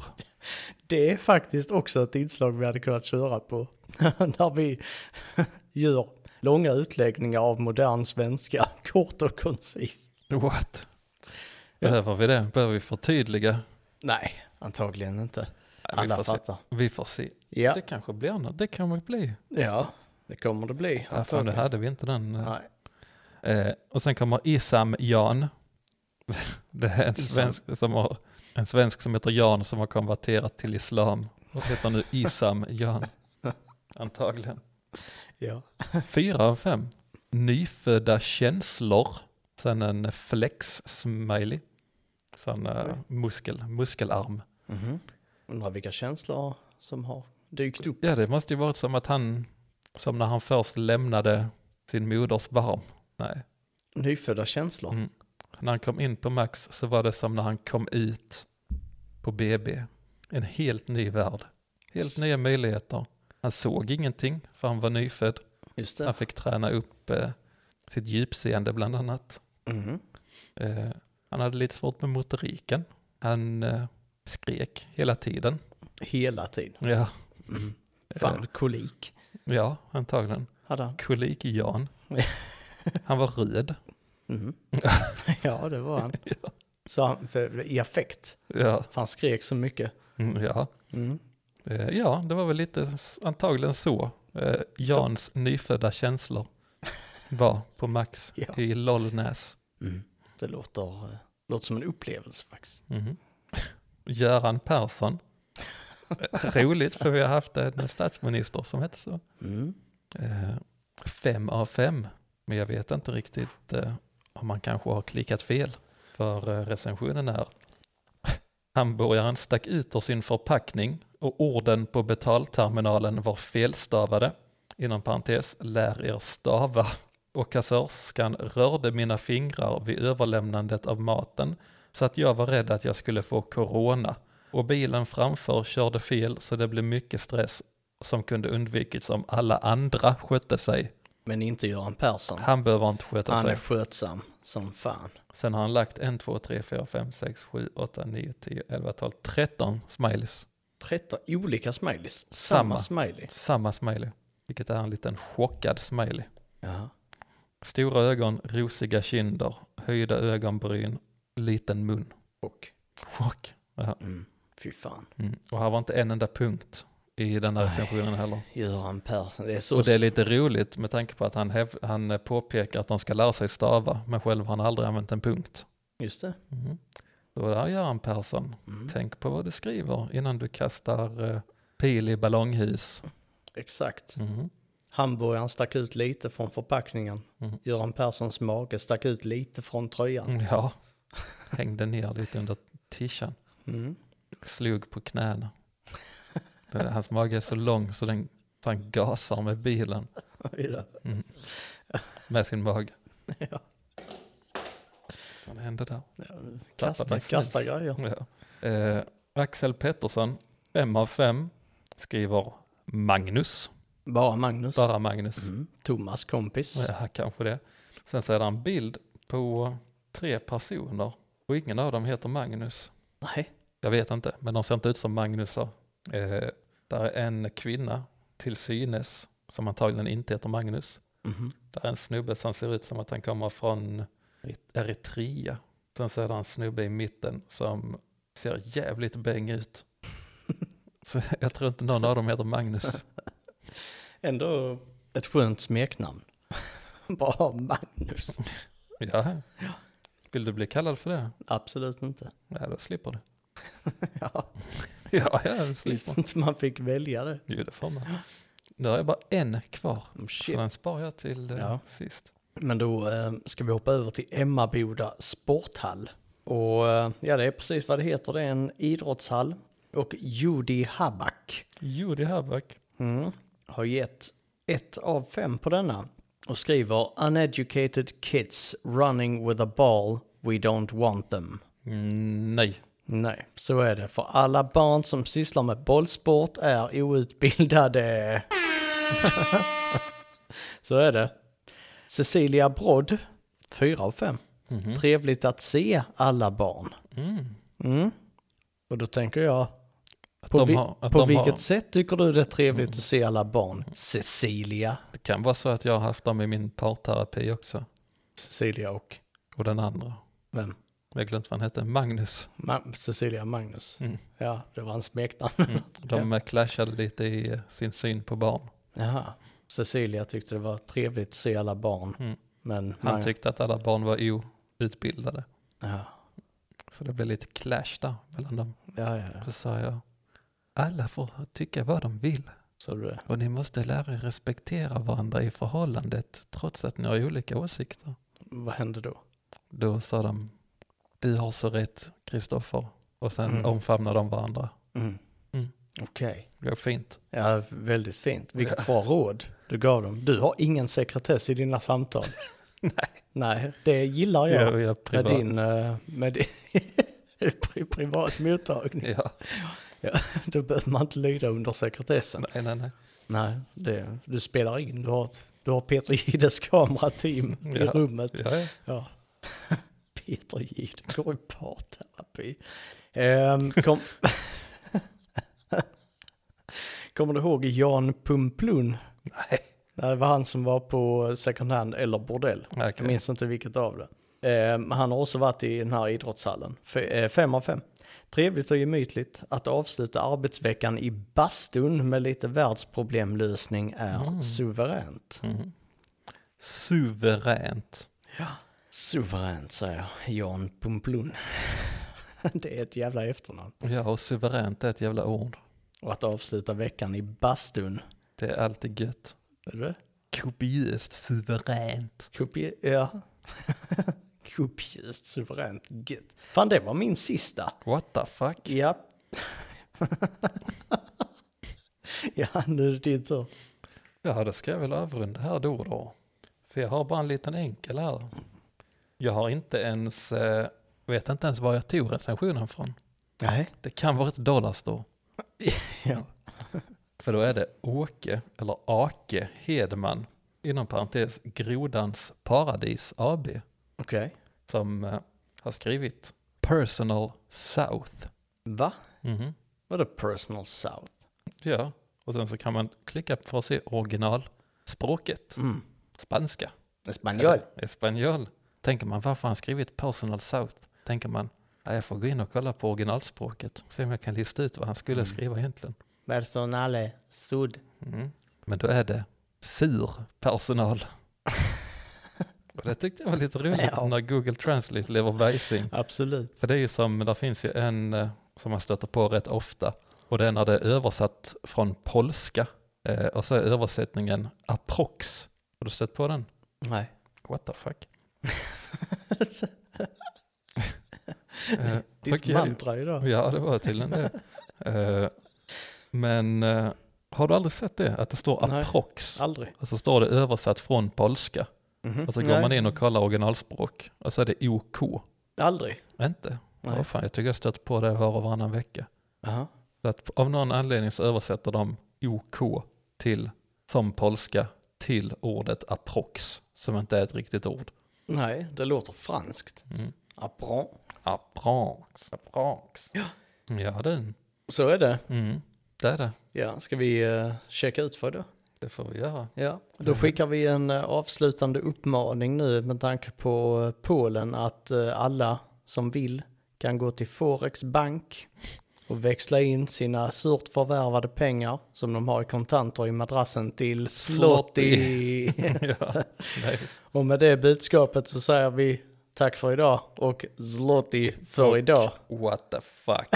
Speaker 2: Det är faktiskt också ett inslag vi hade kunnat köra på när vi gör långa utläggningar av modern svenska, kort och koncist.
Speaker 1: What? Behöver vi det? Behöver vi förtydliga?
Speaker 2: Nej, antagligen inte.
Speaker 1: vi
Speaker 2: Alla
Speaker 1: får se.
Speaker 2: fattar.
Speaker 1: Vi får se.
Speaker 2: Ja,
Speaker 1: Det kanske blir något. Det kan väl bli.
Speaker 2: ja, det kommer det bli.
Speaker 1: Ja, fan, det
Speaker 2: antagligen.
Speaker 1: hade vi inte den.
Speaker 2: Nej.
Speaker 1: Eh, och sen kommer Isam Jan. Det är en
Speaker 2: Isam.
Speaker 1: svensk, som har, en svensk som heter Jan som har konverterat till islam. Och heter nu Isam Jan. Antagligen.
Speaker 2: Ja.
Speaker 1: Fyra av fem. Nyfödda känslor. Sen en flex-smiley. Sen eh, muskel, muskelarm. Mhm.
Speaker 2: Undrar vilka känslor som har dykt upp.
Speaker 1: Ja, det måste ju varit som att han, som när han först lämnade sin moders barm. Nej,
Speaker 2: Nyfödda känslor.
Speaker 1: Mm. när han kom in på Max så var det som när han kom ut på BB. En helt ny värld. Helt
Speaker 2: S-
Speaker 1: nya möjligheter. Han såg ingenting för han var nyfödd.
Speaker 2: Just
Speaker 1: Han
Speaker 2: det.
Speaker 1: fick träna upp eh, sitt djupseende bland annat.
Speaker 2: Mhm.
Speaker 1: Eh, han hade lite svårt med motoriken. Han eh, skrek hela tiden.
Speaker 2: Hela tiden.
Speaker 1: Ja, Mm.
Speaker 2: Fan, kolik
Speaker 1: ja antagligen.
Speaker 2: hade han.
Speaker 1: Kolik-Jan. Han var röd.
Speaker 2: Mhm. ja, det var han. Så han, för, i affekt.
Speaker 1: Ja,
Speaker 2: För han skrek så mycket.
Speaker 1: mm, ja.
Speaker 2: Mm.
Speaker 1: Eh, ja, det var väl lite s- antagligen så eh, Jans nyfödda känslor var på Max
Speaker 2: Ja.
Speaker 1: i Lollnäs.
Speaker 2: Det låter, eh, låter som en upplevelse faktiskt.
Speaker 1: Mhm. Göran Persson. Eh, Roligt för vi har haft en statsminister som hette så.
Speaker 2: Mm.
Speaker 1: Eh, fem av fem. Men jag vet inte riktigt eh, om man kanske har klickat fel. För eh, recensionen är Hamburgaren stack ut ur sin förpackning och orden på betalterminalen var felstavade. Inom parentes, lär er stava. Och kassörskan rörde mina fingrar vid överlämnandet av maten så att jag var rädd att jag skulle få corona. Och bilen framför körde fel så det blev mycket stress som kunde undvikits om alla andra skötte sig.
Speaker 2: Men inte Göran Persson.
Speaker 1: Han behöver inte sköta
Speaker 2: Han är
Speaker 1: sig.
Speaker 2: skötsam som fan.
Speaker 1: Sen har han lagt 1, 2, 3, 4, 5, 6, 7, 8, 9, 10, 11, 12, 13 smileys.
Speaker 2: 13 olika smileys. Samma,
Speaker 1: Samma.
Speaker 2: smiley.
Speaker 1: Samma smiley. Vilket är en liten chockad smiley.
Speaker 2: Ja.
Speaker 1: Stora ögon, rosiga kinder, höjda ögonbryn, liten mun.
Speaker 2: Och,
Speaker 1: Chock. Ja.
Speaker 2: mm. fy fan.
Speaker 1: Mm. Och här var inte en enda punkt i den här
Speaker 2: Nej.
Speaker 1: recensionen heller.
Speaker 2: Göran Persson, det är så...
Speaker 1: Och det är lite roligt med tanke på att han, häv- han eh, påpekar att de ska lära sig stava, men själv har han aldrig använt en punkt.
Speaker 2: Just det.
Speaker 1: Mm. Så där Göran Persson,
Speaker 2: Mm.
Speaker 1: tänk på vad du skriver innan du kastar eh, pil i ballonghus.
Speaker 2: Exakt.
Speaker 1: Mhm.
Speaker 2: Hamburgaren stack ut lite från förpackningen.
Speaker 1: Mm.
Speaker 2: Göran Perssons mage stack ut lite från tröjan.
Speaker 1: Mm, Ja, hängde ner lite under tishan,
Speaker 2: Mm.
Speaker 1: slog på knäna. Den, hans mage är så lång så den så han gasar med bilen,
Speaker 2: Ja.
Speaker 1: med sin mage.
Speaker 2: Ja.
Speaker 1: Vad hände där? Tappade
Speaker 2: Kasta,
Speaker 1: min snus.
Speaker 2: kasta grejer.
Speaker 1: Ja. Eh, Axel Pettersson, fem av fem, skriver Magnus.
Speaker 2: Bara Magnus.
Speaker 1: Bara Magnus.
Speaker 2: Mm. Thomas kompis.
Speaker 1: Ja, kanske det. Sen så är det en bild på tre personer och ingen av dem heter Magnus.
Speaker 2: Nej.
Speaker 1: Jag vet inte, men de ser inte ut som Magnusar. Eh, där är en kvinna till synes som antagligen inte heter Magnus.
Speaker 2: Mhm.
Speaker 1: Där är en snubbe som ser ut som att han kommer från Erit- Eritrea. Sen så är det en snubbe i mitten som ser jävligt bäng ut. Så jag tror inte någon av dem heter Magnus.
Speaker 2: Ändå ett skönt smeknamn. Bara Magnus.
Speaker 1: Ja. Vill du bli kallad för det?
Speaker 2: Absolut inte.
Speaker 1: Ja, då slipper du.
Speaker 2: Ja,
Speaker 1: Ja, ja, det
Speaker 2: visst
Speaker 1: slipper.
Speaker 2: inte man fick välja det.
Speaker 1: Jo, det får man. Nu har jag bara en kvar.
Speaker 2: Oh,
Speaker 1: Så
Speaker 2: shit.
Speaker 1: den sparar jag till eh,
Speaker 2: Ja.
Speaker 1: sist.
Speaker 2: Men då eh, ska vi hoppa över till Emmaboda sporthall. Och eh, ja, det är precis vad det heter. Det är en idrottshall. Och Judy Habak
Speaker 1: Judy Habak.
Speaker 2: mm, har gett ett av fem på denna. Och skriver uneducated kids running with a ball, we don't want them.
Speaker 1: Mm, nej.
Speaker 2: Nej, så är det. För alla barn som sysslar med bollsport är outbildade. så är det. Cecilia Brodd, 4 av 5. Trevligt att se alla barn.
Speaker 1: Mhm. Mm.
Speaker 2: Mm. Och då tänker jag,
Speaker 1: Att
Speaker 2: på,
Speaker 1: de
Speaker 2: vi,
Speaker 1: har, att
Speaker 2: på
Speaker 1: de
Speaker 2: vilket
Speaker 1: har, Mm.
Speaker 2: sätt tycker du det är trevligt att se alla barn? Cecilia.
Speaker 1: Det kan vara så att jag har haft dem i min parterapi också.
Speaker 2: Cecilia och
Speaker 1: Och den andra.
Speaker 2: vem?
Speaker 1: Jag har glömt vad han hette. Magnus.
Speaker 2: Ma- Cecilia Magnus.
Speaker 1: Mm.
Speaker 2: Ja, det var hans smeknamn.
Speaker 1: Mm. De eh, clashade lite i eh, sin syn på barn.
Speaker 2: Jaha. Cecilia tyckte det var trevligt att se alla barn.
Speaker 1: Mm.
Speaker 2: Men
Speaker 1: Han
Speaker 2: Mag-
Speaker 1: tyckte att alla barn var outbildade.
Speaker 2: Ja,
Speaker 1: Så det blev lite clash där mellan dem.
Speaker 2: ja, ja. ja.
Speaker 1: Så sa jag, alla får tycka vad de vill.
Speaker 2: Så du det.
Speaker 1: Och ni måste lära er respektera varandra i förhållandet trots att ni har olika åsikter.
Speaker 2: Vad hände då?
Speaker 1: Då sa de, du har så rätt Kristoffer. Och sen
Speaker 2: Mm.
Speaker 1: omfamnade de varandra. Mm.
Speaker 2: Okej.
Speaker 1: Det blev fint.
Speaker 2: Ja, väldigt fint. Vilket bra råd du gav dem. Du har ingen sekretess i dina samtal. Nej. Nej, det gillar jag.
Speaker 1: Jag, jag
Speaker 2: med
Speaker 1: privat.
Speaker 2: din... eh, Med din pri- privat mottagning.
Speaker 1: Ja,
Speaker 2: Då behöver man inte lyda under sekretessen.
Speaker 1: nej, nej, nej.
Speaker 2: Nej, det, du spelar in. Du har, du har Peter Gides kamerateam i
Speaker 1: Ja.
Speaker 2: rummet.
Speaker 1: Ja, ja.
Speaker 2: Ja. Peter Jihde går i parterapi. Ehm, kom... Kommer du ihåg Jan Pumplun?
Speaker 1: Nej.
Speaker 2: Nej, Det var han som var på second hand eller bordell.
Speaker 1: Okej.
Speaker 2: Jag minns inte vilket av det. Ehm, han har också varit i den här idrottshallen. F- eh, fem av fem. Trevligt och gemytligt att avsluta arbetsveckan i bastun med lite världsproblemlösning är
Speaker 1: Mm.
Speaker 2: suveränt.
Speaker 1: Mhm. Suveränt.
Speaker 2: Suveränt säger jag. Jan Pumplun. Det är ett jävla efternamn.
Speaker 1: Ja, och suveränt är ett jävla ord.
Speaker 2: Och att avsluta veckan i bastun.
Speaker 1: Det är alltid gött.
Speaker 2: Är det?
Speaker 1: Kopiöst suveränt.
Speaker 2: Kopi- ja. Kopiöst suveränt gött. Fan det var min sista.
Speaker 1: What the fuck?
Speaker 2: Ja. ja nu är det din tur.
Speaker 1: Ja, det ska jag väl avrunda här då och då. För jag har bara en liten enkel här. Jag har inte ens, eh, vet inte ens var jag tog recensionen från.
Speaker 2: Nej.
Speaker 1: Det kan vara ett dollarstore.
Speaker 2: Ja.
Speaker 1: För då är det Åke, eller Ake Hedman, inom parentes Grodans Paradis AB,
Speaker 2: Okej.
Speaker 1: som eh, har skrivit Personal South.
Speaker 2: Va?
Speaker 1: Mhm.
Speaker 2: Vadå personal south?
Speaker 1: Ja, och sen så kan man klicka för att se originalspråket,
Speaker 2: Mm.
Speaker 1: spanska.
Speaker 2: Spanjol.
Speaker 1: Eller Espanjol. Tänker man varför har han skrivit personal south? Tänker man, "Ja, jag får gå in och kolla på originalspråket. Se om jag kan lista ut vad han skulle skriva egentligen.
Speaker 2: Personale sud.
Speaker 1: Mm. Men då är det sur personal. och det tyckte jag var lite roligt
Speaker 2: Ja.
Speaker 1: när Google Translate lever bajsing.
Speaker 2: Absolut.
Speaker 1: Så det är ju som, där finns ju en eh, som man stöter på rätt ofta. Och det är när det är översatt från polska. Eh, och så är översättningen approx. Har du stött på den?
Speaker 2: Nej.
Speaker 1: What the fuck? Eh,
Speaker 2: Ditt
Speaker 1: okej.
Speaker 2: mantra idag.
Speaker 1: Ja, det var tydligen det. Eh, men eh, har du aldrig sett det? Att det står
Speaker 2: Nej.
Speaker 1: approx.
Speaker 2: Aldrig.
Speaker 1: Och så står det översatt från polska.
Speaker 2: Mhm.
Speaker 1: Och så går
Speaker 2: Nej.
Speaker 1: man in och kollar originalspråk. Och så är det OK.
Speaker 2: Aldrig.
Speaker 1: Inte?
Speaker 2: Nej.
Speaker 1: Åh, fan, jag tycker jag stött på det var och varannan vecka.
Speaker 2: Aha.
Speaker 1: Så att av någon anledning så översätter de OK till, som polska, till ordet approx. Som inte är ett riktigt ord.
Speaker 2: Nej, det låter franskt. Ah,
Speaker 1: Mm.
Speaker 2: Apron.
Speaker 1: Approx. Approx. Ja. Ja, du.
Speaker 2: Så är det.
Speaker 1: Mm. Det är det.
Speaker 2: Ja, ska vi eh, checka ut för det?
Speaker 1: Det får vi göra.
Speaker 2: Ja, då skickar vi en eh, avslutande uppmaning nu med tanke på eh, Polen att eh, alla som vill kan gå till Forex Bank och växla in sina surt förvärvade pengar som de har i kontanter i madrassen till Zloty.
Speaker 1: ja, nice.
Speaker 2: och med det budskapet så säger vi tack för idag och Zloty för
Speaker 1: Och
Speaker 2: idag.
Speaker 1: What the fuck.